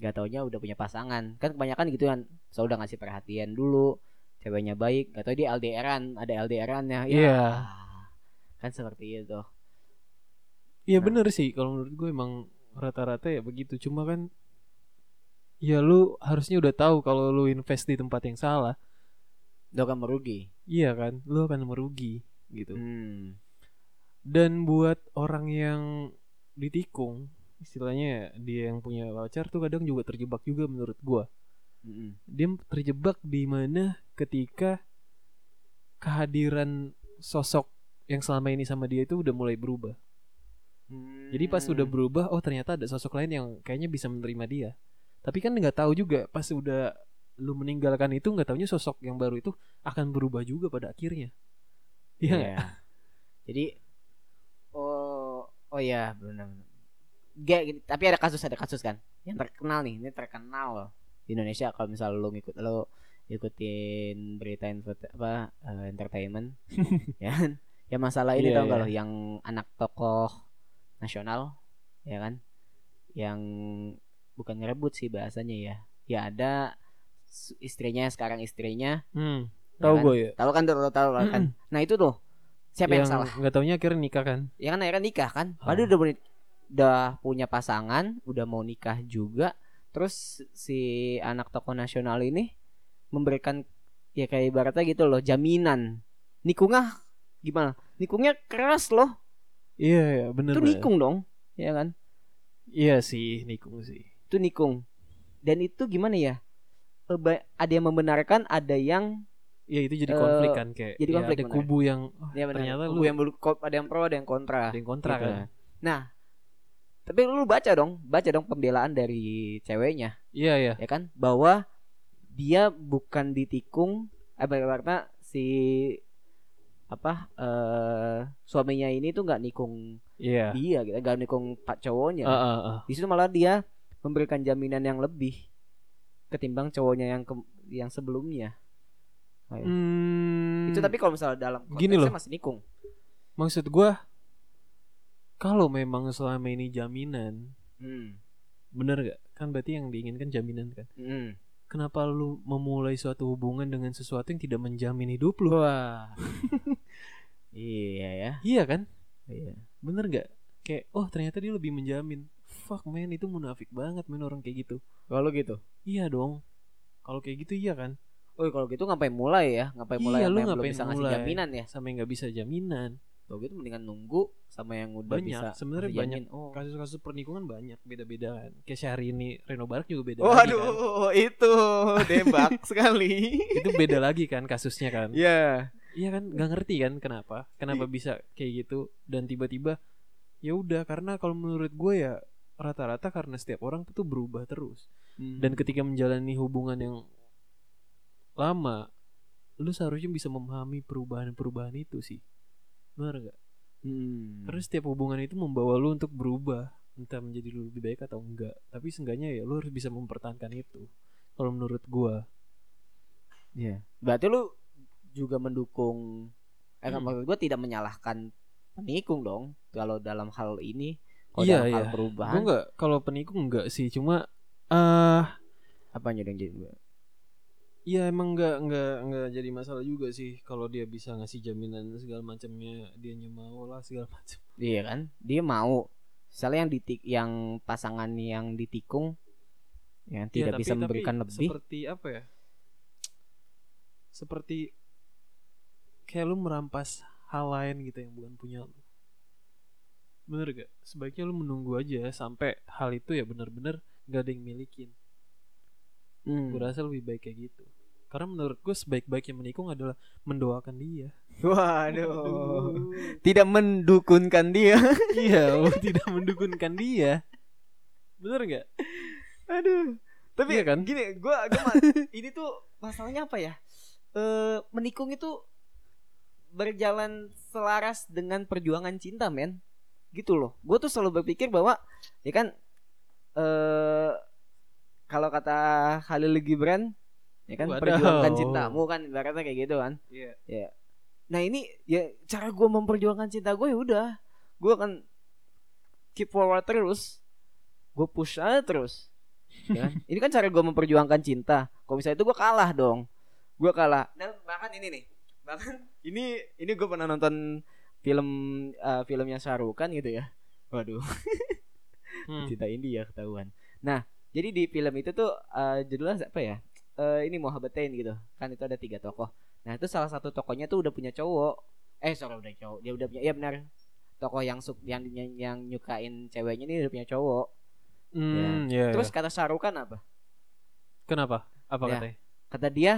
[SPEAKER 2] gak taunya udah punya pasangan kan kebanyakan gitu kan so udah ngasih perhatian dulu ceweknya baik gak tau dia LDRan ada LDRan ya Ya,
[SPEAKER 1] Iya.
[SPEAKER 2] kan seperti itu
[SPEAKER 1] Iya
[SPEAKER 2] Nah.
[SPEAKER 1] bener sih kalau menurut gue emang rata-rata ya begitu. Cuma kan ya lu harusnya udah tahu kalau lu invest di tempat yang salah,
[SPEAKER 2] udah kan merugi
[SPEAKER 1] iya kan? Lu akan merugi gitu.
[SPEAKER 2] hmm.
[SPEAKER 1] Dan buat orang yang ditikung, istilahnya dia yang punya pacar tuh kadang juga terjebak juga menurut gua.
[SPEAKER 2] Mm-mm.
[SPEAKER 1] Dia terjebak di mana ketika kehadiran sosok yang selama ini sama dia itu udah mulai berubah. Jadi pas udah
[SPEAKER 2] Hmm.
[SPEAKER 1] berubah, oh ternyata ada sosok lain yang kayaknya bisa menerima dia. Tapi kan nggak tahu juga pas udah lu meninggalkan itu nggak taunya sosok yang baru itu akan berubah juga pada akhirnya. Iya. nggak?
[SPEAKER 2] Iya. Jadi oh oh ya benar. Gak gini, tapi ada kasus ada kasus kan yang terkenal nih ini terkenal loh di Indonesia kalau misal lo ngikut lo ikutin berita info apa eh, entertainment ya kan? ya masalah ini
[SPEAKER 1] Iya,
[SPEAKER 2] tau nggak
[SPEAKER 1] iya.
[SPEAKER 2] lo yang anak tokoh nasional ya kan yang bukan ngerebut sih bahasanya ya ya ada su- istrinya sekarang istrinya
[SPEAKER 1] Hmm.
[SPEAKER 2] ya
[SPEAKER 1] Tahu
[SPEAKER 2] kan?
[SPEAKER 1] gue ya.
[SPEAKER 2] tahu kan tahu tahu tahu kan nah itu tuh siapa yang salah
[SPEAKER 1] Nggak taunya akhirnya nikah kan?
[SPEAKER 2] ya kan akhirnya nikah kan
[SPEAKER 1] Ah.
[SPEAKER 2] padahal udah meni- udah punya pasangan udah mau nikah juga terus si anak tokoh nasional ini memberikan ya kayak ibaratnya gitu loh jaminan nikungnya gimana nikungnya keras loh
[SPEAKER 1] Iya, iya bener.
[SPEAKER 2] itu
[SPEAKER 1] lah.
[SPEAKER 2] nikung dong ya kan
[SPEAKER 1] Iya sih, nikung sih.
[SPEAKER 2] itu nikung dan itu gimana ya Eh, ba- ada yang membenarkan ada yang
[SPEAKER 1] Ya itu jadi
[SPEAKER 2] Eh,
[SPEAKER 1] konflik kan kayak.
[SPEAKER 2] jadi
[SPEAKER 1] ya,
[SPEAKER 2] konflik,
[SPEAKER 1] ada
[SPEAKER 2] benar.
[SPEAKER 1] kubu yang oh,
[SPEAKER 2] ya benar,
[SPEAKER 1] ternyata
[SPEAKER 2] kubu
[SPEAKER 1] lu
[SPEAKER 2] yang bulu- ko- ada yang pro ada yang kontra
[SPEAKER 1] ada yang kontra
[SPEAKER 2] gitu.
[SPEAKER 1] kan.
[SPEAKER 2] Nah, tapi lu baca dong, baca dong pembelaan dari ceweknya,
[SPEAKER 1] Iya, iya.
[SPEAKER 2] ya kan? Bahwa dia bukan ditikung apa karena si apa eh suaminya ini tuh nggak nikung
[SPEAKER 1] Iya.
[SPEAKER 2] dia gitu, nggak nikung pak
[SPEAKER 1] Ah,
[SPEAKER 2] cowoknya.
[SPEAKER 1] ah, ah.
[SPEAKER 2] Di situ malah dia memberikan jaminan yang lebih ketimbang cowoknya yang ke- yang sebelumnya.
[SPEAKER 1] Hmm,
[SPEAKER 2] Itu tapi kalau misalnya dalam
[SPEAKER 1] Gini
[SPEAKER 2] konteksnya
[SPEAKER 1] loh.
[SPEAKER 2] masih nikung.
[SPEAKER 1] maksud gua kalau memang selama ini jaminan,
[SPEAKER 2] Hmm.
[SPEAKER 1] bener gak? Kan berarti yang diinginkan jaminan kan.
[SPEAKER 2] Hmm.
[SPEAKER 1] Kenapa lu memulai suatu hubungan dengan sesuatu yang tidak menjamin hidup lu?
[SPEAKER 2] Wah. iya ya.
[SPEAKER 1] Iya kan?
[SPEAKER 2] Iya.
[SPEAKER 1] Bener gak? Kayak oh ternyata dia lebih menjamin. Fuck man itu munafik banget men orang kayak gitu.
[SPEAKER 2] Kalau gitu.
[SPEAKER 1] Iya dong. Kalau kayak gitu iya kan.
[SPEAKER 2] Oh kalau gitu ngapain mulai ya? Ngapain mulai
[SPEAKER 1] Iya,
[SPEAKER 2] sama
[SPEAKER 1] lu
[SPEAKER 2] yang belum
[SPEAKER 1] ngapain
[SPEAKER 2] bisa ngasih
[SPEAKER 1] mulai?
[SPEAKER 2] jaminan ya?
[SPEAKER 1] Sama yang nggak bisa jaminan.
[SPEAKER 2] Kalau gitu mendingan nunggu sama yang udah
[SPEAKER 1] Banyak,
[SPEAKER 2] bisa.
[SPEAKER 1] sebenarnya
[SPEAKER 2] ngasih
[SPEAKER 1] banyak.
[SPEAKER 2] jamin. Oh.
[SPEAKER 1] Kasus-kasus pernikungan banyak beda-beda kan. Kayak sehari ini Reno Barak juga beda lagi kan.
[SPEAKER 2] Waduh, itu debak sekali.
[SPEAKER 1] Itu beda lagi kan kasusnya kan.
[SPEAKER 2] Ya.
[SPEAKER 1] Iya kan nggak ngerti kan kenapa? Kenapa bisa kayak gitu dan tiba-tiba ya udah karena kalau menurut gue ya rata-rata karena setiap orang tuh berubah Hmm. terus. Dan ketika menjalani hubungan yang lama lu seharusnya bisa memahami perubahan-perubahan itu sih benar nggak
[SPEAKER 2] Hmm.
[SPEAKER 1] Terus setiap hubungan itu membawa lu untuk berubah Entah menjadi lu lebih baik atau enggak Tapi seenggaknya ya lu harus bisa mempertahankan itu Kalau menurut gua
[SPEAKER 2] Iya. Berarti lu juga mendukung eh
[SPEAKER 1] Hmm.
[SPEAKER 2] maksud gua tidak menyalahkan penikung dong kalau dalam hal ini kalau
[SPEAKER 1] Iya,
[SPEAKER 2] dalam hal
[SPEAKER 1] iya. Gua
[SPEAKER 2] perubahan
[SPEAKER 1] enggak, kalau penikung enggak sih Cuma eh
[SPEAKER 2] apa yang jadi
[SPEAKER 1] Ya emang enggak, enggak, enggak jadi masalah juga sih Kalau dia bisa ngasih jaminan segala macamnya Dia mau lah segala macam
[SPEAKER 2] Iya kan? Dia mau misalnya yang ditik yang pasangan yang ditikung yang
[SPEAKER 1] Ya, tapi-
[SPEAKER 2] tidak bisa
[SPEAKER 1] tapi
[SPEAKER 2] memberikan lebih.
[SPEAKER 1] Seperti apa ya Seperti Kayak lu merampas hal lain gitu yang bukan punya lu Bener gak? Sebaiknya lu menunggu aja sampai hal itu ya bener-bener gak ada yang milikin
[SPEAKER 2] Hmm.
[SPEAKER 1] Gue rasa lebih baik kayak gitu Karena menurut gue sebaik-baiknya menikung adalah mendoakan dia
[SPEAKER 2] Waduh. Tidak mendukunkan dia.
[SPEAKER 1] Iya, lu tidak mendukunkan dia Bener gak?
[SPEAKER 2] Aduh. Tapi
[SPEAKER 1] Iya kan?
[SPEAKER 2] gini, gua, gua ma- ini tuh masalahnya apa ya? Eh menikung itu berjalan selaras dengan perjuangan cinta, men. Gitu loh. Gue tuh selalu berpikir bahwa ya kan eh kalau kata Khalil Gibran ya kan
[SPEAKER 1] Waduh.
[SPEAKER 2] perjuangkan cintamu kan ibaratnya kayak gitu kan.
[SPEAKER 1] Iya
[SPEAKER 2] Nah ini ya cara gue memperjuangkan cinta gue ya udah gue akan keep forward terus, gue push aja terus. Ya kan? ini kan cara gue memperjuangkan cinta. Kalau misalnya itu gue kalah dong, gue kalah. Nah, bahkan ini nih, bahkan ini ini gue pernah nonton film eh, filmnya Sarukan gitu ya. Waduh
[SPEAKER 1] Hmm.
[SPEAKER 2] cinta India ketahuan. Nah, jadi di film itu tuh eh, judulnya apa ya? Eh, ini Mohabbatain gitu. Kan itu ada tiga tokoh. Nah, itu salah satu tokohnya tuh udah punya cowok. Eh, sorry udah cowok. Dia udah punya. Iya benar. Tokoh yang suk yang, yang yang nyukain ceweknya ini udah punya cowok.
[SPEAKER 1] Hmm, iya,
[SPEAKER 2] Terus
[SPEAKER 1] iya.
[SPEAKER 2] kata Sarukan apa?
[SPEAKER 1] Kenapa? Apa
[SPEAKER 2] Ya,
[SPEAKER 1] katanya?
[SPEAKER 2] Kata dia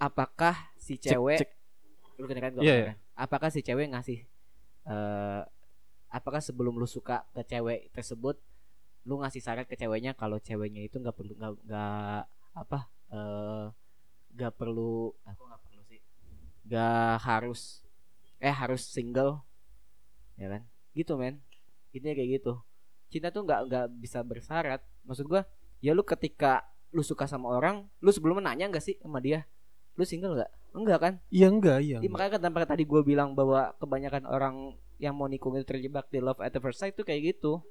[SPEAKER 2] apakah si
[SPEAKER 1] Cek,
[SPEAKER 2] cewek
[SPEAKER 1] cek.
[SPEAKER 2] lu kedengeran gak?
[SPEAKER 1] Iya,
[SPEAKER 2] kedengeran? Apakah si cewek ngasih eh apakah sebelum lu suka ke cewek tersebut lu ngasih saran ke ceweknya kalau ceweknya itu nggak perlu nggak nggak apa eh nggak perlu aku nggak perlu sih nggak harus eh harus single ya kan gitu men intinya kayak gitu cinta tuh nggak nggak bisa bersyarat maksud gua ya lu ketika lu suka sama orang lu sebelumnya nanya nggak sih sama dia lu single nggak enggak kan
[SPEAKER 1] Iya enggak, iya
[SPEAKER 2] Iya
[SPEAKER 1] enggak.
[SPEAKER 2] makanya kenapa tadi gue bilang bahwa kebanyakan orang yang mau nikung itu terjebak di love at the first sight tuh kayak gitu.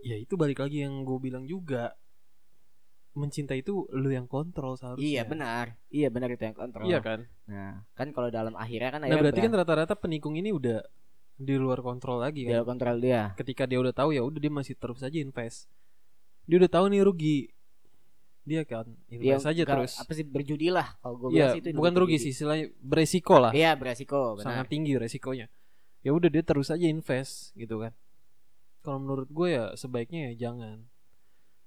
[SPEAKER 1] ya itu balik lagi yang gue bilang juga mencintai itu lu yang kontrol seharusnya
[SPEAKER 2] Iya benar, iya benar itu yang kontrol.
[SPEAKER 1] iya kan
[SPEAKER 2] Nah kan kalau dalam akhirnya kan
[SPEAKER 1] nah
[SPEAKER 2] akhirnya
[SPEAKER 1] berarti kan
[SPEAKER 2] beran-
[SPEAKER 1] rata-rata penikung ini udah di luar kontrol lagi
[SPEAKER 2] dia
[SPEAKER 1] kan
[SPEAKER 2] kontrol dia.
[SPEAKER 1] ketika dia udah tahu ya udah dia masih terus aja invest dia udah tahu nih rugi dia kan
[SPEAKER 2] Dia
[SPEAKER 1] invest aja
[SPEAKER 2] Iya, nggak-
[SPEAKER 1] terus
[SPEAKER 2] Apa sih berjudi lah kalau gue
[SPEAKER 1] Iya,
[SPEAKER 2] itu
[SPEAKER 1] bukan rugi sih istilahnya beresiko lah
[SPEAKER 2] Iya beresiko benar.
[SPEAKER 1] sangat tinggi resikonya ya udah dia terus aja invest gitu kan kalau menurut gue ya sebaiknya ya jangan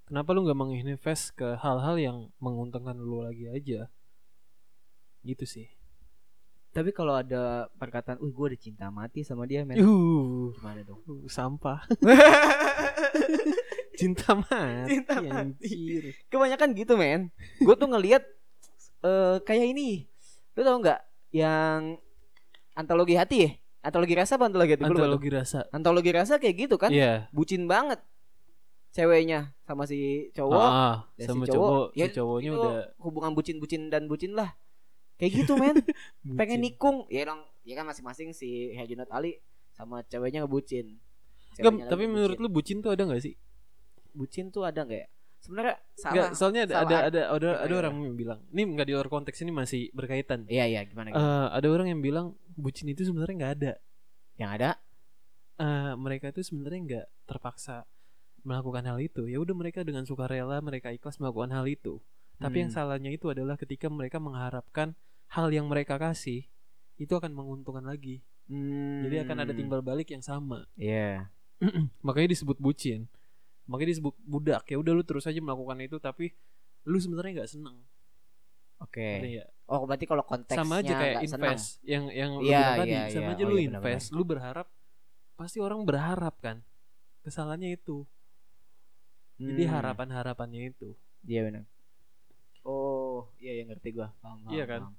[SPEAKER 1] kenapa lu nggak menginvest ke hal-hal yang menguntungkan lu lagi aja gitu sih
[SPEAKER 2] Tapi kalau ada perkataan, "Uh, gue udah cinta mati sama dia, men."
[SPEAKER 1] Yuh,
[SPEAKER 2] Gimana dong?
[SPEAKER 1] sampah cinta mati
[SPEAKER 2] Cinta mati.
[SPEAKER 1] anjir.
[SPEAKER 2] Kebanyakan gitu, men. Gue tuh ngelihat eh kayak ini. Lu tau nggak yang antologi hati ya? Antologi rasa apa antologi hati? Gua lupa tuh.
[SPEAKER 1] antologi rasa
[SPEAKER 2] Antologi rasa kayak gitu kan
[SPEAKER 1] iya
[SPEAKER 2] Bucin banget Ceweknya sama si cowok
[SPEAKER 1] ah,
[SPEAKER 2] ya si
[SPEAKER 1] sama
[SPEAKER 2] cowok,
[SPEAKER 1] cowok si
[SPEAKER 2] ya
[SPEAKER 1] cowoknya
[SPEAKER 2] itu
[SPEAKER 1] udah
[SPEAKER 2] Hubungan bucin-bucin dan bucin lah Kayak gitu men Pengen
[SPEAKER 1] bucin.
[SPEAKER 2] nikung Ya dong Ya kan masing-masing si Hajunat Ali Sama ceweknya ngebucin
[SPEAKER 1] Gam,
[SPEAKER 2] Ceweknya lagi
[SPEAKER 1] tapi
[SPEAKER 2] ngebucin.
[SPEAKER 1] menurut lu bucin tuh ada gak sih?
[SPEAKER 2] Bucin tuh ada gak ya? Sebenarnya
[SPEAKER 1] Nggak,
[SPEAKER 2] salah
[SPEAKER 1] soalnya ada,
[SPEAKER 2] salah.
[SPEAKER 1] ada ada ada ada
[SPEAKER 2] Gimana?
[SPEAKER 1] orang yang bilang, ini nggak di luar konteks ini masih berkaitan.
[SPEAKER 2] Iya iya gimana, gimana?
[SPEAKER 1] Eh, ada orang yang bilang bucin itu sebenarnya nggak ada.
[SPEAKER 2] Yang ada
[SPEAKER 1] Eh, mereka itu sebenarnya nggak terpaksa melakukan hal itu. Ya udah mereka dengan sukarela mereka ikhlas melakukan hal itu. Tapi yang
[SPEAKER 2] Hmm.
[SPEAKER 1] salahnya itu adalah ketika mereka mengharapkan hal yang mereka kasih itu akan menguntungkan lagi.
[SPEAKER 2] Hmm.
[SPEAKER 1] Jadi akan ada timbal balik yang sama.
[SPEAKER 2] Iya
[SPEAKER 1] Makanya disebut bucin. Makanya disebut budak. Ya udah lu terus aja melakukan itu tapi lu sebenarnya nggak seneng. Ngerti
[SPEAKER 2] Oke
[SPEAKER 1] nggak?
[SPEAKER 2] Oh berarti kalau konteksnya
[SPEAKER 1] sama aja kayak
[SPEAKER 2] nggak senang.
[SPEAKER 1] invest yang yang lu
[SPEAKER 2] Iya,
[SPEAKER 1] bilang tadi
[SPEAKER 2] iya,
[SPEAKER 1] sama
[SPEAKER 2] iya.
[SPEAKER 1] aja
[SPEAKER 2] Oh,
[SPEAKER 1] lu
[SPEAKER 2] iya,
[SPEAKER 1] invest lu berharap pasti orang berharap kan kesalahannya itu jadi
[SPEAKER 2] Hmm.
[SPEAKER 1] harapan harapannya itu
[SPEAKER 2] Iya benar. Oh, iya yang ngerti gua. Paham, paham,
[SPEAKER 1] Iya kan?
[SPEAKER 2] paham.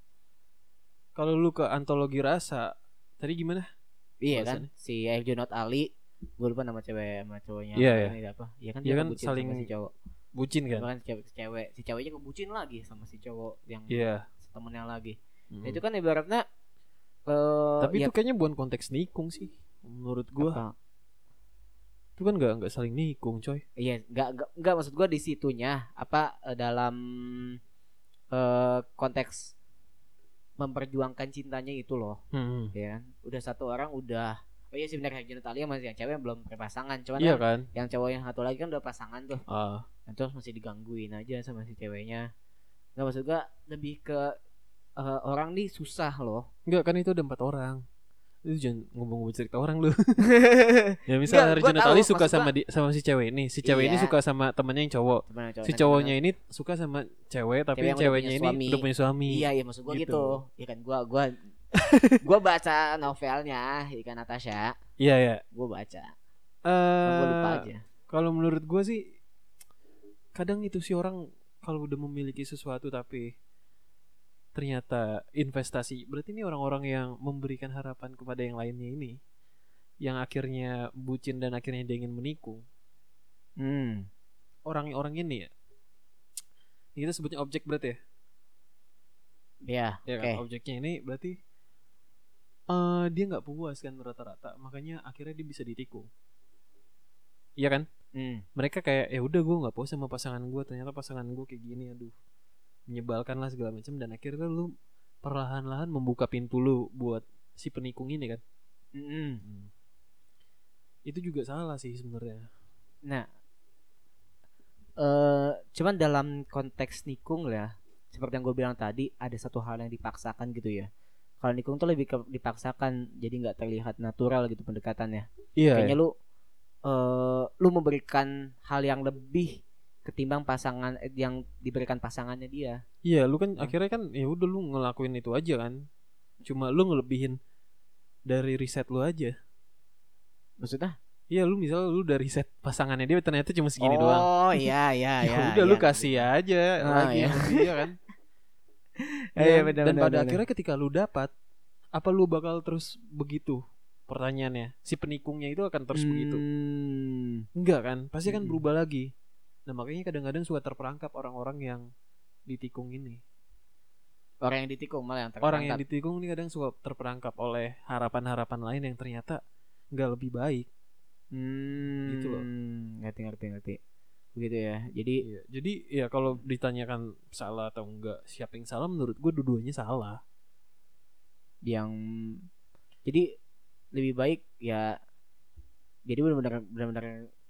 [SPEAKER 1] Kalau lu ke antologi rasa, tadi gimana?
[SPEAKER 2] Iya
[SPEAKER 1] Bahasannya.
[SPEAKER 2] kan si Air Junot Ali gue lupa nama cewek sama cowoknya
[SPEAKER 1] Iya,
[SPEAKER 2] apa
[SPEAKER 1] iya.
[SPEAKER 2] ini apa iya kan
[SPEAKER 1] Iya
[SPEAKER 2] dia
[SPEAKER 1] kan,
[SPEAKER 2] kebucin
[SPEAKER 1] saling-
[SPEAKER 2] sama si cowok
[SPEAKER 1] Bucin
[SPEAKER 2] Cuma
[SPEAKER 1] kan?
[SPEAKER 2] kan si cewek si cewek si ceweknya kebucin lagi sama si cowok yang
[SPEAKER 1] Iya.
[SPEAKER 2] temennya lagi Nah,
[SPEAKER 1] Mm.
[SPEAKER 2] itu ya. kan ibaratnya eh,
[SPEAKER 1] Hmm. Tapi itu kayaknya bukan konteks nikung sih. Menurut gua itu kan nggak nggak saling nikung, coy.
[SPEAKER 2] Iya, nggak nggak nggak, maksud gua di situnya apa eh, dalam eh, konteks memperjuangkan cintanya itu loh,
[SPEAKER 1] Hmm.
[SPEAKER 2] ya. kan. Udah satu orang udah Oh iya sih benar Haji Natalia masih yang cewek belum berpasangan, cuman
[SPEAKER 1] Iya
[SPEAKER 2] kan
[SPEAKER 1] kan?
[SPEAKER 2] yang cowok yang satu lagi kan udah pasangan tuh.
[SPEAKER 1] Ah,
[SPEAKER 2] Nah, terus masih digangguin aja sama si ceweknya. Nggak maksud gua lebih ke eh, orang nih susah loh.
[SPEAKER 1] nggak kan itu ada empat orang. Lu jangan ngomong-ngomong cerita orang lu. ya
[SPEAKER 2] Nggak,
[SPEAKER 1] misal
[SPEAKER 2] gua
[SPEAKER 1] Arjuna
[SPEAKER 2] tahu,
[SPEAKER 1] Ali suka
[SPEAKER 2] maksud
[SPEAKER 1] sama di, sama si cewek ini, si cewek ini
[SPEAKER 2] Iya.
[SPEAKER 1] suka sama temannya yang cowok.
[SPEAKER 2] Temen yang cowok-
[SPEAKER 1] Si
[SPEAKER 2] kan temen-
[SPEAKER 1] cowoknya ini suka sama cewek tapi yang
[SPEAKER 2] Cewek yang udah
[SPEAKER 1] ceweknya
[SPEAKER 2] punya
[SPEAKER 1] ini
[SPEAKER 2] suami.
[SPEAKER 1] udah punya suami.
[SPEAKER 2] Iya iya maksud gua
[SPEAKER 1] Gitu.
[SPEAKER 2] gitu. Ya kan gua gua gua baca novelnya ikan Natasha,
[SPEAKER 1] Iya ya.
[SPEAKER 2] gua baca. Cuma Nah, gua lupa
[SPEAKER 1] Eh
[SPEAKER 2] aja.
[SPEAKER 1] kalau menurut gue sih kadang itu sih orang kalau udah memiliki sesuatu tapi ternyata investasi berarti ini orang-orang yang memberikan harapan kepada yang lainnya ini yang akhirnya bucin dan akhirnya dia ingin menikung
[SPEAKER 2] Hmm.
[SPEAKER 1] orang-orang ini ya ini kita sebutnya objek berarti ya,
[SPEAKER 2] Ya,
[SPEAKER 1] ya
[SPEAKER 2] Oke.
[SPEAKER 1] kan? objeknya ini berarti eh dia nggak puas kan rata-rata makanya akhirnya dia bisa ditikung iya kan
[SPEAKER 2] hmm.
[SPEAKER 1] mereka kayak ya udah gue nggak puas sama pasangan gue ternyata pasangan gue kayak gini aduh menyebalkan lah segala macam dan akhirnya lu perlahan-lahan membuka pintu lu buat si penikung ini kan
[SPEAKER 2] Mm-mm.
[SPEAKER 1] Hmm. itu juga salah sih sebenarnya
[SPEAKER 2] Nah, eh cuman dalam konteks nikung lah, ya, seperti yang gue bilang tadi, ada satu hal yang dipaksakan gitu ya. Kalau nikung tuh lebih ke- dipaksakan, jadi nggak terlihat natural gitu pendekatannya.
[SPEAKER 1] iya
[SPEAKER 2] Kayaknya lu eh lu memberikan hal yang lebih ketimbang pasangan eh, yang diberikan pasangannya dia.
[SPEAKER 1] iya lu kan
[SPEAKER 2] Hmm.
[SPEAKER 1] akhirnya kan ya udah lu ngelakuin itu aja kan cuma lu ngelebihin dari riset lu aja
[SPEAKER 2] Maksudnya?
[SPEAKER 1] iya lu misal lu dari riset pasangannya dia ternyata cuma segini
[SPEAKER 2] oh,
[SPEAKER 1] doang
[SPEAKER 2] iya iya
[SPEAKER 1] ya
[SPEAKER 2] iya.
[SPEAKER 1] udah lu
[SPEAKER 2] iya.
[SPEAKER 1] kasih aja
[SPEAKER 2] Ah,
[SPEAKER 1] lagi
[SPEAKER 2] iya.
[SPEAKER 1] iya kan
[SPEAKER 2] Iya,
[SPEAKER 1] Iya,
[SPEAKER 2] iya, benar,
[SPEAKER 1] dan
[SPEAKER 2] benar,
[SPEAKER 1] pada
[SPEAKER 2] benar.
[SPEAKER 1] akhirnya ketika lu dapat apa lu bakal terus begitu pertanyaannya si penikungnya itu akan terus begitu
[SPEAKER 2] Hmm.
[SPEAKER 1] enggak kan pasti kan
[SPEAKER 2] Mm-mm.
[SPEAKER 1] berubah lagi nah makanya kadang-kadang suka terperangkap orang-orang yang ditikung ini
[SPEAKER 2] orang yang ditikung malah yang tertangkap.
[SPEAKER 1] orang yang ditikung ini kadang suka terperangkap oleh harapan-harapan lain yang ternyata nggak lebih baik
[SPEAKER 2] Hmm,
[SPEAKER 1] Gitu loh.
[SPEAKER 2] ngerti ngerti ngerti begitu ya jadi
[SPEAKER 1] Iya, jadi ya kalau ditanyakan salah atau enggak siapa yang salah menurut gue dua-duanya salah
[SPEAKER 2] yang jadi lebih baik ya jadi benar-benar benar-benar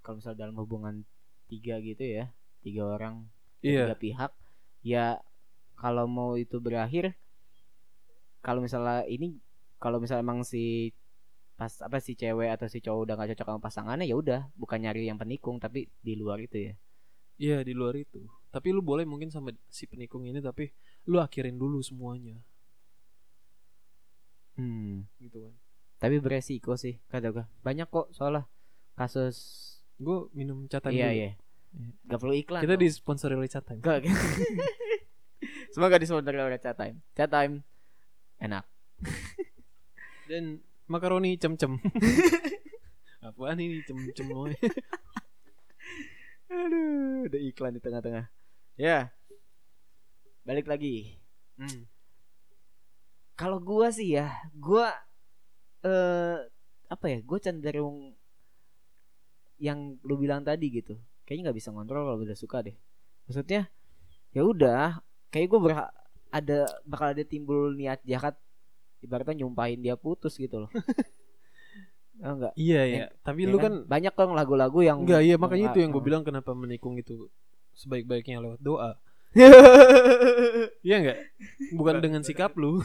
[SPEAKER 2] kalau misalnya dalam hubungan tiga gitu ya tiga orang
[SPEAKER 1] Iya.
[SPEAKER 2] tiga pihak ya kalau mau itu berakhir kalau misalnya ini kalau misalnya emang si pas apa si cewek atau si cowok udah gak cocok sama pasangannya ya udah bukan nyari yang penikung tapi di luar itu ya
[SPEAKER 1] iya di luar itu tapi lu boleh mungkin sama si penikung ini tapi lu akhirin dulu semuanya
[SPEAKER 2] hmm.
[SPEAKER 1] gitu kan
[SPEAKER 2] tapi beresiko sih kata gue banyak kok soalnya kasus
[SPEAKER 1] gue minum catatan
[SPEAKER 2] iya
[SPEAKER 1] dulu.
[SPEAKER 2] iya gak perlu iklan
[SPEAKER 1] kita
[SPEAKER 2] dong.
[SPEAKER 1] disponsori oleh catatan
[SPEAKER 2] Gak, gak. semoga disponsori oleh chat time chat time enak
[SPEAKER 1] dan makaroni cem-cem apaan ini cem-cem woy?
[SPEAKER 2] aduh ada iklan di tengah-tengah ya balik lagi
[SPEAKER 1] Hmm.
[SPEAKER 2] kalau gua sih ya gua eh apa ya gua cenderung yang lu bilang tadi gitu kayaknya nggak bisa ngontrol kalau udah suka deh maksudnya ya udah kayak gua berha- ada bakal ada timbul niat jahat ibaratnya nyumpahin dia putus gitu loh Oh, enggak
[SPEAKER 1] iya ya tapi lu kan
[SPEAKER 2] banyak kok lagu-lagu yang
[SPEAKER 1] enggak iya makanya itu yang gue bilang kenapa menikung itu sebaik-baiknya lewat doa iya enggak bukan dengan sikap lu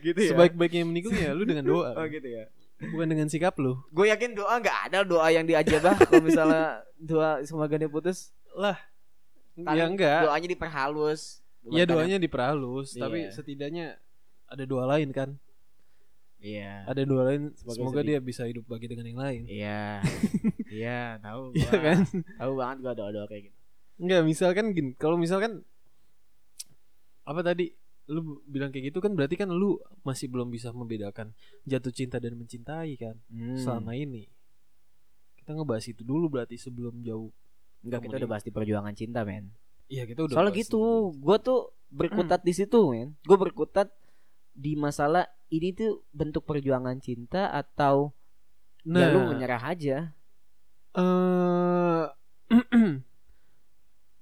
[SPEAKER 2] gitu
[SPEAKER 1] sebaik-baiknya menikung ya lu dengan doa
[SPEAKER 2] gitu ya
[SPEAKER 1] bukan dengan sikap lu
[SPEAKER 2] gue yakin doa nggak ada doa yang diajabah kalau misalnya doa semoga dia putus
[SPEAKER 1] ya
[SPEAKER 2] Paling
[SPEAKER 1] enggak
[SPEAKER 2] doanya diperhalus
[SPEAKER 1] ya doanya diperhalus tapi
[SPEAKER 2] Iya.
[SPEAKER 1] setidaknya ada doa lain kan
[SPEAKER 2] iya
[SPEAKER 1] ada doa lain
[SPEAKER 2] Semoga
[SPEAKER 1] semoga dia
[SPEAKER 2] sedih.
[SPEAKER 1] bisa hidup bagi dengan yang lain
[SPEAKER 2] iya iya tahu
[SPEAKER 1] iya kan
[SPEAKER 2] tahu banget gua doa doa kayak gitu
[SPEAKER 1] Enggak, misalkan gini, kalau misalkan apa tadi lu b- bilang kayak gitu kan berarti kan lu masih belum bisa membedakan jatuh cinta dan mencintai kan
[SPEAKER 2] Hmm.
[SPEAKER 1] selama ini kita ngebahas itu dulu berarti sebelum jauh
[SPEAKER 2] Enggak, kita udah bahas di perjuangan cinta, men.
[SPEAKER 1] iya kita udah
[SPEAKER 2] Soalnya
[SPEAKER 1] bahas
[SPEAKER 2] gitu, gue tuh berkutat
[SPEAKER 1] Hmm.
[SPEAKER 2] di situ, men. Gue berkutat di masalah ini tuh bentuk perjuangan cinta atau
[SPEAKER 1] sebelum. nah
[SPEAKER 2] ya lu menyerah aja.
[SPEAKER 1] eh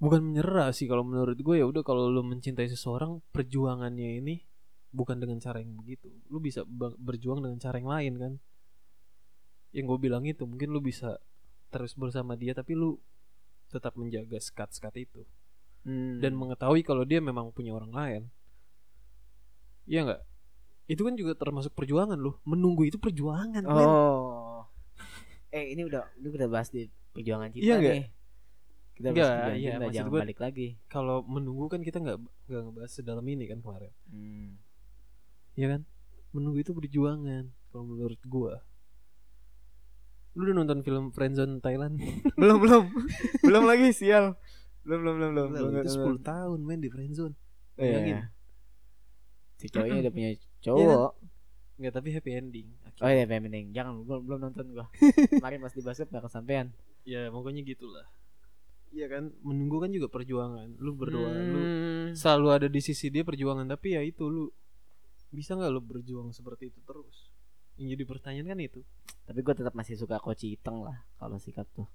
[SPEAKER 1] bukan menyerah sih kalau menurut gue ya udah kalau lu mencintai seseorang perjuangannya ini bukan dengan cara yang begitu lu bisa ba- berjuang dengan cara yang lain kan yang gue bilang itu mungkin lu bisa terus bersama dia tapi lu tetap menjaga skat-skat itu
[SPEAKER 2] Hmm.
[SPEAKER 1] dan mengetahui kalau dia memang punya orang lain Iya nggak itu kan juga termasuk perjuangan lu menunggu itu perjuangan men.
[SPEAKER 2] Oh. eh, ini udah lu udah bahas di perjuangan cinta
[SPEAKER 1] Iya nggak?
[SPEAKER 2] nih. Kita bahas
[SPEAKER 1] Nggak,
[SPEAKER 2] perjuangan
[SPEAKER 1] iya,
[SPEAKER 2] cinta,
[SPEAKER 1] maksud
[SPEAKER 2] jangan
[SPEAKER 1] gua-
[SPEAKER 2] balik lagi.
[SPEAKER 1] kalau menunggu kan kita nggak nggak ngebahas sedalam ini kan kemarin
[SPEAKER 2] Hmm.
[SPEAKER 1] ya kan menunggu itu perjuangan kalau menurut gua lu udah nonton film Friendzone Thailand
[SPEAKER 2] belum, belum. belum lagi, sial. Belum, belum, belum, belum. Iya.
[SPEAKER 1] Lah, itu 10 tahun main di Friendzone
[SPEAKER 2] Bayangin.
[SPEAKER 1] Bayangin.
[SPEAKER 2] Si cowoknya udah punya
[SPEAKER 1] Iya
[SPEAKER 2] cowok.
[SPEAKER 1] nggak tapi happy ending
[SPEAKER 2] Oh
[SPEAKER 1] akhirnya.
[SPEAKER 2] iya, penting. Jangan, gua belum nonton gua. Kemarin pas di basket gak kesampaian.
[SPEAKER 1] ya pokoknya gitulah Iya kan menunggu kan juga perjuangan lu berdoa lu
[SPEAKER 2] Hmm.
[SPEAKER 1] selalu ada di sisi dia perjuangan tapi ya itu lu bisa nggak lu berjuang seperti itu terus yang jadi pertanyaan kan itu
[SPEAKER 2] Tapi gue tetap masih suka Coach Iteng lah kalau sikap tuh.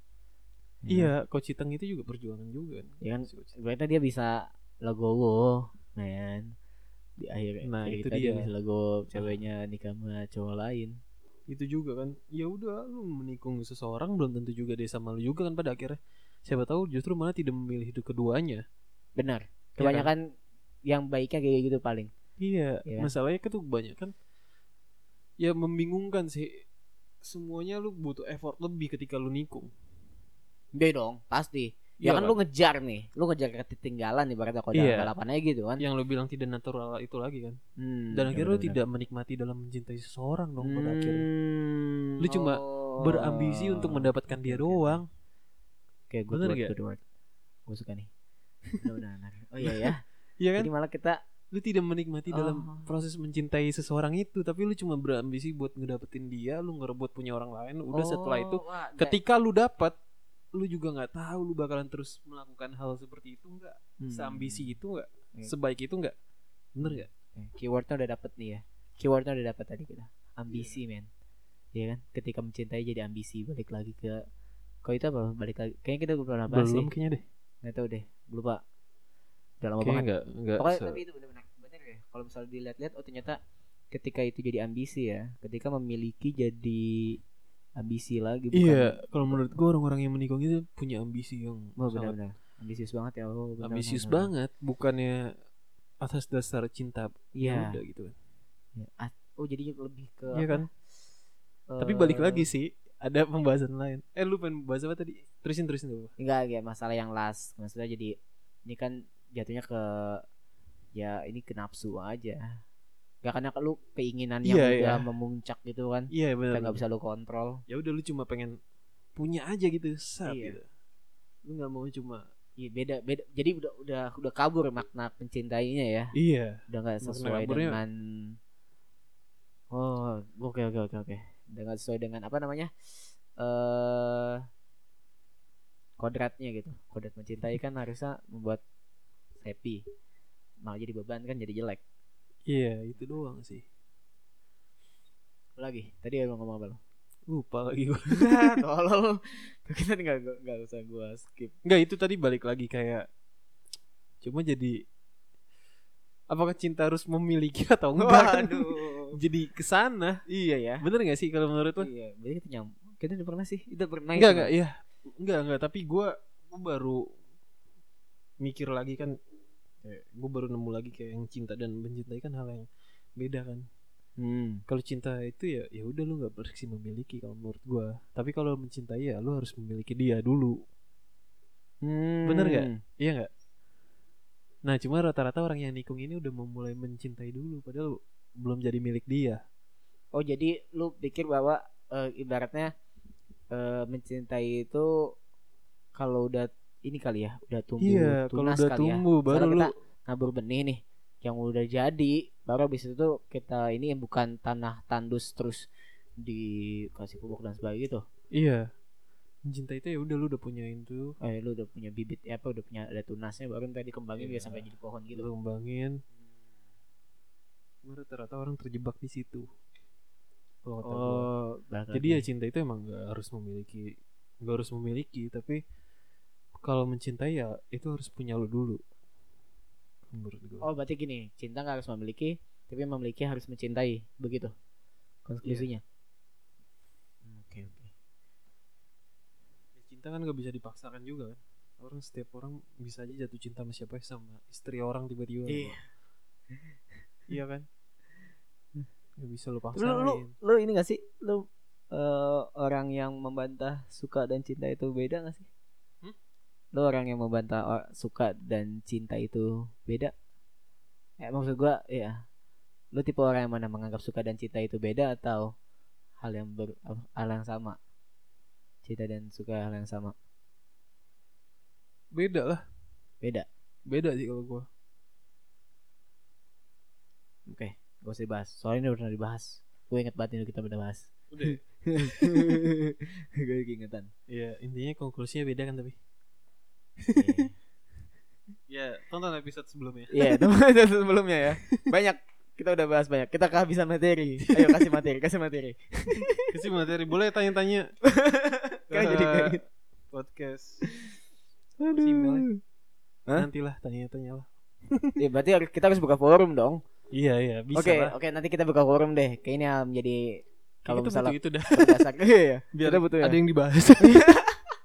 [SPEAKER 1] iya coach Iteng itu juga perjuangan juga kan
[SPEAKER 2] Iya kan?
[SPEAKER 1] Si Coach Iteng.
[SPEAKER 2] Berarti dia bisa legowo, man. Di akhir
[SPEAKER 1] Nah, itu
[SPEAKER 2] cerita
[SPEAKER 1] dia.
[SPEAKER 2] dia bisa legowo ceweknya nikah sama cowok lain.
[SPEAKER 1] itu juga kan ya udah lu menikung seseorang belum tentu juga dia sama lu juga kan pada akhirnya siapa tahu justru malah tidak memilih hidup keduanya
[SPEAKER 2] Benar. Iya
[SPEAKER 1] kan?
[SPEAKER 2] Kebanyakan yang baiknya kayak gitu paling.
[SPEAKER 1] iya
[SPEAKER 2] Iya.
[SPEAKER 1] masalahnya kan tuh kebanyakan ya membingungkan sih semuanya lu butuh effort lebih ketika lu nikung
[SPEAKER 2] Dia dong, pasti.
[SPEAKER 1] Iya
[SPEAKER 2] Ya kan, lu ngejar nih, lu ngejar ketinggalan ibaratnya kalau
[SPEAKER 1] Iya.
[SPEAKER 2] dalam balapan aja gitu kan.
[SPEAKER 1] yang lu bilang tidak natural itu lagi kan
[SPEAKER 2] Hmm,
[SPEAKER 1] dan
[SPEAKER 2] ya
[SPEAKER 1] akhirnya lu
[SPEAKER 2] benar-benar.
[SPEAKER 1] tidak menikmati dalam mencintai seseorang dong pada
[SPEAKER 2] Hmm,
[SPEAKER 1] akhirnya Lu cuma
[SPEAKER 2] oh.
[SPEAKER 1] berambisi untuk mendapatkan dia
[SPEAKER 2] Oke, oke,
[SPEAKER 1] doang
[SPEAKER 2] Oke, gue
[SPEAKER 1] Bener
[SPEAKER 2] word,
[SPEAKER 1] gak?
[SPEAKER 2] good word. Gue suka nih. Benar-benar. Oh iya ya.
[SPEAKER 1] iya kan
[SPEAKER 2] Jadi malah kita
[SPEAKER 1] lu tidak menikmati dalam
[SPEAKER 2] Oh.
[SPEAKER 1] proses mencintai seseorang itu tapi lu cuma berambisi buat ngedapetin dia lu ngerebut punya orang lain udah
[SPEAKER 2] Oh,
[SPEAKER 1] setelah itu ketika lu dapat lu juga nggak tahu lu bakalan terus melakukan hal seperti itu nggak seambisi itu nggak
[SPEAKER 2] Hmm. Iya.
[SPEAKER 1] sebaik itu nggak bener nggak
[SPEAKER 2] keywordnya udah dapet nih ya. Keywordnya udah dapet tadi kita. Ambisi, men. Iya kan? Ketika mencintai jadi ambisi balik lagi ke Kok itu apa? Balik lagi. Kayaknya kita belum pernah bahas sih.
[SPEAKER 1] kayaknya deh
[SPEAKER 2] Enggak tahu deh. Lupa. Udah lama
[SPEAKER 1] kayaknya
[SPEAKER 2] banget.
[SPEAKER 1] nggak nggak
[SPEAKER 2] kan? Pokoknya
[SPEAKER 1] se-
[SPEAKER 2] tapi itu benar-benar benar ya. Kalau misalnya dilihat-lihat oh ternyata ketika itu jadi ambisi ya. Ketika memiliki jadi ambisi lagi bukan
[SPEAKER 1] iya kalau menurut gua orang-orang yang menikung itu punya ambisi yang
[SPEAKER 2] Oh,
[SPEAKER 1] sangat
[SPEAKER 2] benar-benar ambisius banget ya. Oh, benar,
[SPEAKER 1] ambisius
[SPEAKER 2] benar, benar.
[SPEAKER 1] banget bukannya atas dasar cinta ya
[SPEAKER 2] Iya.
[SPEAKER 1] udah gitu kan
[SPEAKER 2] Iya. Ah, Oh, jadi lebih ke
[SPEAKER 1] iya
[SPEAKER 2] apa?
[SPEAKER 1] kan tapi balik
[SPEAKER 2] Eh,
[SPEAKER 1] lagi sih ada pembahasan lain eh lu pengen bahas apa tadi terusin terusin dulu
[SPEAKER 2] Enggak, enggak masalah yang last. Maksudnya jadi ini kan jatuhnya ke ya ini ke nafsu aja. Enggak karena lu keinginan yang
[SPEAKER 1] Iya,
[SPEAKER 2] udah
[SPEAKER 1] iya.
[SPEAKER 2] memuncak gitu kan.
[SPEAKER 1] iya
[SPEAKER 2] Kita
[SPEAKER 1] benar
[SPEAKER 2] nggak bisa lu kontrol.
[SPEAKER 1] ya udah lu cuma pengen punya aja gitu sap
[SPEAKER 2] Iya.
[SPEAKER 1] gitu lu nggak mau cuma
[SPEAKER 2] Iya, beda beda. Jadi udah udah udah kabur makna mencintainya ya.
[SPEAKER 1] iya
[SPEAKER 2] Udah enggak
[SPEAKER 1] Makna
[SPEAKER 2] sesuai
[SPEAKER 1] kaburnya-
[SPEAKER 2] dengan Oh, oke oke oke oke. Udah nggak sesuai dengan apa namanya? Eh kodratnya gitu. Kodrat mencintai kan harusnya membuat happy. Malah jadi beban kan jadi jelek.
[SPEAKER 1] iya itu doang sih
[SPEAKER 2] lagi tadi emang ngomong apa lu
[SPEAKER 1] lupa lagi gue
[SPEAKER 2] Ah, tolol kita nggak nggak usah gua skip
[SPEAKER 1] nggak itu tadi balik lagi kayak cuma jadi apakah cinta harus memiliki atau enggak kan?
[SPEAKER 2] waduh
[SPEAKER 1] jadi kesana
[SPEAKER 2] iya ya
[SPEAKER 1] bener nggak sih kalau menurut lu
[SPEAKER 2] iya berarti kita nyam kita udah pernah sih kita pernah
[SPEAKER 1] enggak enggak iya enggak enggak tapi gue gue baru mikir lagi kan gue baru nemu lagi kayak yang cinta dan mencintai kan hal yang beda kan
[SPEAKER 2] hmm.
[SPEAKER 1] kalau cinta itu ya ya udah lu nggak bersih memiliki kalau menurut gua tapi kalau mencintai ya lu harus memiliki dia dulu
[SPEAKER 2] Hmm.
[SPEAKER 1] Bener nggak? iya nggak nah cuma rata-rata orang yang nikung ini udah memulai mencintai dulu padahal belum jadi milik dia
[SPEAKER 2] oh jadi lu pikir bahwa eh, ibaratnya eh, mencintai itu kalau udah ini kali ya udah tumbuh
[SPEAKER 1] iya kalau
[SPEAKER 2] tunas
[SPEAKER 1] udah
[SPEAKER 2] kali ya
[SPEAKER 1] tumbuh baru
[SPEAKER 2] Sekarang
[SPEAKER 1] lu
[SPEAKER 2] kita nabur benih nih
[SPEAKER 3] yang udah jadi baru habis itu kita ini bukan tanah tandus terus dikasih pupuk dan sebagainya gitu
[SPEAKER 1] Iya. Mencintai itu ya udah lu udah punya itu,
[SPEAKER 3] eh lu udah punya bibit eh, apa udah punya ada tunasnya baru ntar dikembangin
[SPEAKER 1] Iya.
[SPEAKER 3] biar sampai jadi pohon gitu
[SPEAKER 1] lu kembangin. Cuma Rata-rata orang terjebak di situ. Kalau kata gua.
[SPEAKER 3] oh balik
[SPEAKER 1] Jadi ya
[SPEAKER 3] lagi.
[SPEAKER 1] cinta itu emang gak harus memiliki, gak harus memiliki, tapi kalau mencintai ya itu harus punya lu dulu. Menurut gue.
[SPEAKER 3] oh berarti gini cinta nggak harus memiliki tapi yang memiliki harus mencintai begitu konklusinya Iya. oke oke
[SPEAKER 1] Cinta kan gak bisa dipaksakan juga kan. Orang setiap orang bisa aja jatuh cinta sama siapa sama istri orang tiba-tiba.
[SPEAKER 3] Iya.
[SPEAKER 1] Iya kan? Gak bisa lu
[SPEAKER 2] Lu,
[SPEAKER 1] paksain.
[SPEAKER 2] lu, lu ini gak sih? Lu eh, orang yang membantah suka dan cinta itu beda gak sih?
[SPEAKER 1] Hmm?
[SPEAKER 2] Lu orang yang membantah o- suka dan cinta itu beda? Eh maksud gua ya. Lu tipe orang yang mana menganggap suka dan cinta itu beda atau hal yang ber, hal yang sama? Cinta dan suka hal yang sama.
[SPEAKER 1] Beda lah.
[SPEAKER 2] Beda.
[SPEAKER 1] Beda sih kalau gue.
[SPEAKER 3] oke gak usah dibahas soalnya ini udah pernah dibahas gue inget banget ini kita pernah bahas
[SPEAKER 1] Udah.
[SPEAKER 3] gue lagi ingetan
[SPEAKER 1] Iya intinya konklusinya beda kan tapi.
[SPEAKER 3] Iya.
[SPEAKER 1] Ya tonton episode sebelumnya.
[SPEAKER 2] Iya, teman itu sebelumnya ya. Banyak kita udah bahas banyak. Kita kehabisan materi. Ayo kasih materi, kasih materi.
[SPEAKER 1] Kasih materi boleh tanya-tanya.
[SPEAKER 2] Kan jadi kayak
[SPEAKER 1] Eh, podcast. Kasih emailnya.
[SPEAKER 2] Hah?
[SPEAKER 1] Nantilah tanya-tanya lah.
[SPEAKER 2] Ya berarti harus- kita harus buka forum dong.
[SPEAKER 1] Iya iya bisa
[SPEAKER 2] Oke,
[SPEAKER 1] lah.
[SPEAKER 2] oke nanti kita buka forum deh. Kayak ini yang menjadi kalau
[SPEAKER 1] Kita
[SPEAKER 2] misalnya
[SPEAKER 1] butuh itu dah.
[SPEAKER 2] berdasar. Iya, iya.
[SPEAKER 1] Biar
[SPEAKER 2] Kita butuh ya.
[SPEAKER 1] ada yang dibahas.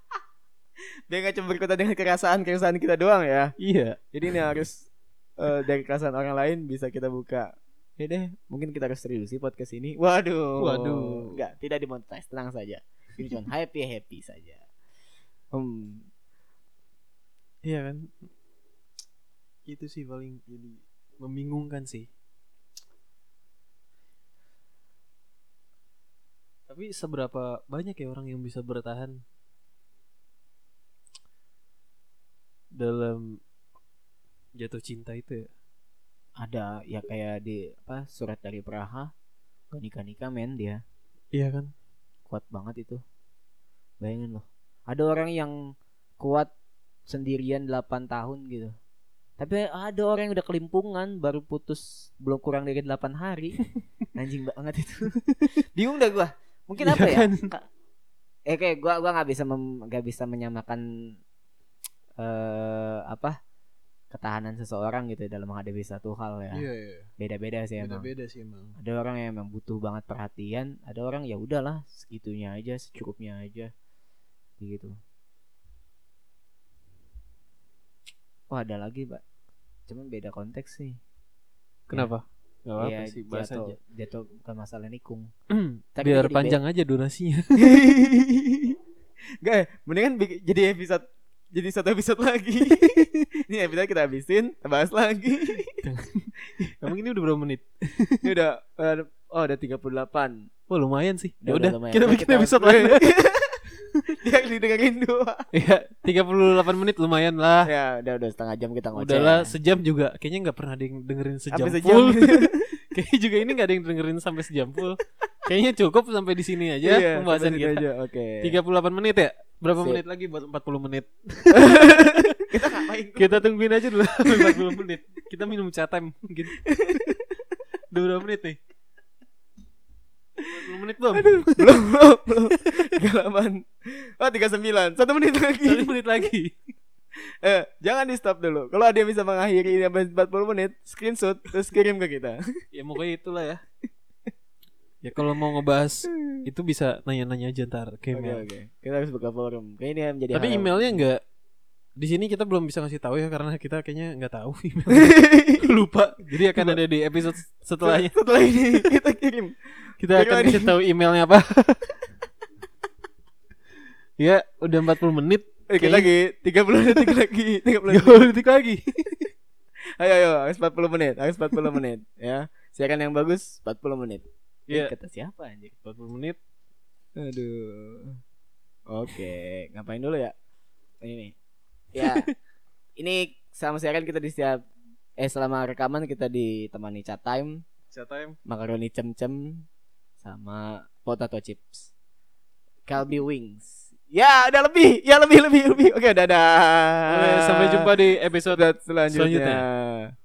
[SPEAKER 2] Dia nggak cuma berkutat dengan kerasaan-kerasaan kita doang ya.
[SPEAKER 1] iya.
[SPEAKER 2] Jadi ini harus eh, dari kerasaan orang lain bisa kita buka. Ya deh, mungkin kita harus serius sih podcast ini. Waduh.
[SPEAKER 1] Waduh.
[SPEAKER 2] Enggak, tidak dimonetize, tenang saja. Ini cuma happy-happy saja. Hmm,
[SPEAKER 1] Iya kan. Itu sih paling jadi membingungkan sih. Tapi seberapa banyak ya orang yang bisa bertahan dalam jatuh cinta itu ya?
[SPEAKER 3] ada ya kayak di apa surat dari Praha
[SPEAKER 1] Hmm.
[SPEAKER 3] gak nikah nikah men dia
[SPEAKER 1] Iya kan?
[SPEAKER 3] kuat banget itu bayangin loh ada orang yang kuat sendirian 8 tahun gitu tapi ada orang yang udah kelimpungan baru putus belum kurang dari 8 hari anjing banget itu bingung dah gua mungkin
[SPEAKER 1] Iya
[SPEAKER 3] apa ya
[SPEAKER 1] kan?
[SPEAKER 3] Ka-
[SPEAKER 2] eh kayak gua gua nggak bisa mem- nggak bisa menyamakan eh apa ketahanan seseorang gitu
[SPEAKER 3] ya
[SPEAKER 2] dalam menghadapi satu hal ya
[SPEAKER 1] Iya, iya.
[SPEAKER 2] beda-beda sih emang
[SPEAKER 1] Beda-beda sih emang.
[SPEAKER 2] ada orang yang emang butuh banget perhatian ada orang ya udahlah segitunya aja secukupnya aja gitu oh ada lagi pak cuman beda konteks sih
[SPEAKER 1] Kenapa? Gak apa-apa
[SPEAKER 2] Iya,
[SPEAKER 1] sih, bahas aja.
[SPEAKER 2] jatuh jatuh bukan masalah nikung Tapi
[SPEAKER 1] Biar
[SPEAKER 2] jadi
[SPEAKER 1] panjang aja durasinya.
[SPEAKER 2] Gak ya, mendingan bikin- jadi episode jadi satu episode lagi. ini episode kita habisin, kita bahas lagi.
[SPEAKER 1] Emang ini udah berapa menit?
[SPEAKER 2] ini udah udah- oh udah 38.
[SPEAKER 1] Wah lumayan sih. Ya
[SPEAKER 3] Udah, udah lumayan.
[SPEAKER 1] udah, kita
[SPEAKER 3] Nah,
[SPEAKER 1] bikin
[SPEAKER 3] kita-
[SPEAKER 1] episode lain.
[SPEAKER 2] Dia didengerin dua.
[SPEAKER 1] Iya, 38 menit lumayan lah.
[SPEAKER 2] Ya, udah udah setengah jam kita ngoceh.
[SPEAKER 1] Udahlah sejam juga. Kayaknya nggak pernah ada yang dengerin sejam,
[SPEAKER 2] Sampai
[SPEAKER 1] full.
[SPEAKER 2] sejam.
[SPEAKER 1] Kayaknya juga ini nggak ada yang dengerin sampai sejam full. Kayaknya cukup sampai di sini aja
[SPEAKER 2] Iya,
[SPEAKER 1] pembahasan
[SPEAKER 2] sampai situ
[SPEAKER 1] kita.
[SPEAKER 2] aja, Oke.
[SPEAKER 1] 38 menit ya? Berapa
[SPEAKER 2] Sip.
[SPEAKER 1] menit lagi buat 40 menit?
[SPEAKER 2] Kita ngapain?
[SPEAKER 1] Kita tungguin aja dulu sampai 40 menit. Kita minum catem gitu. Udah berapa menit nih? 40 menit belum?
[SPEAKER 2] belum, belum, belum. Galaman. Oh, 39. Satu menit lagi.
[SPEAKER 1] 1 menit lagi.
[SPEAKER 2] Eh, jangan di stop dulu. Kalau ada yang bisa mengakhiri ini sampai 40 menit, screenshot terus kirim ke kita.
[SPEAKER 1] ya pokoknya itulah ya ya kalau mau ngebahas itu bisa nanya-nanya aja ntar ke
[SPEAKER 2] Oke,
[SPEAKER 1] email
[SPEAKER 2] oke. Kita harus buka forum. Kayak ini yang menjadi
[SPEAKER 1] tapi
[SPEAKER 2] hal-
[SPEAKER 1] emailnya nggak di sini kita belum bisa ngasih tahu ya karena kita kayaknya nggak tahu email lupa jadi akan ada di episode setelahnya
[SPEAKER 2] Setelah ini kita kirim.
[SPEAKER 1] kita akan
[SPEAKER 2] Kira-kira
[SPEAKER 1] kasih tahu emailnya apa ya udah 40 menit
[SPEAKER 2] Eh, kita lagi 30 detik lagi. 30 detik.
[SPEAKER 1] 30 detik lagi
[SPEAKER 2] Ayo ayo, harus 40 menit. Harus 40 menit ya. Siaran yang bagus 40 menit.
[SPEAKER 1] Iya.
[SPEAKER 2] Eh, Kata siapa anjir?
[SPEAKER 1] 40 menit
[SPEAKER 2] Aduh. Oke, ngapain dulu ya? Ini nih. Ya. ini sama siaran kita di setiap eh selama rekaman kita ditemani chat time,
[SPEAKER 1] Chat time.
[SPEAKER 2] makaroni cem-cem sama potato chips. Kalbi wings. Ya, udah lebih. Ya, lebih lebih lebih. Oke, dadah.
[SPEAKER 1] Oke, sampai jumpa di episode
[SPEAKER 2] episode selanjutnya.
[SPEAKER 1] Selanjutnya.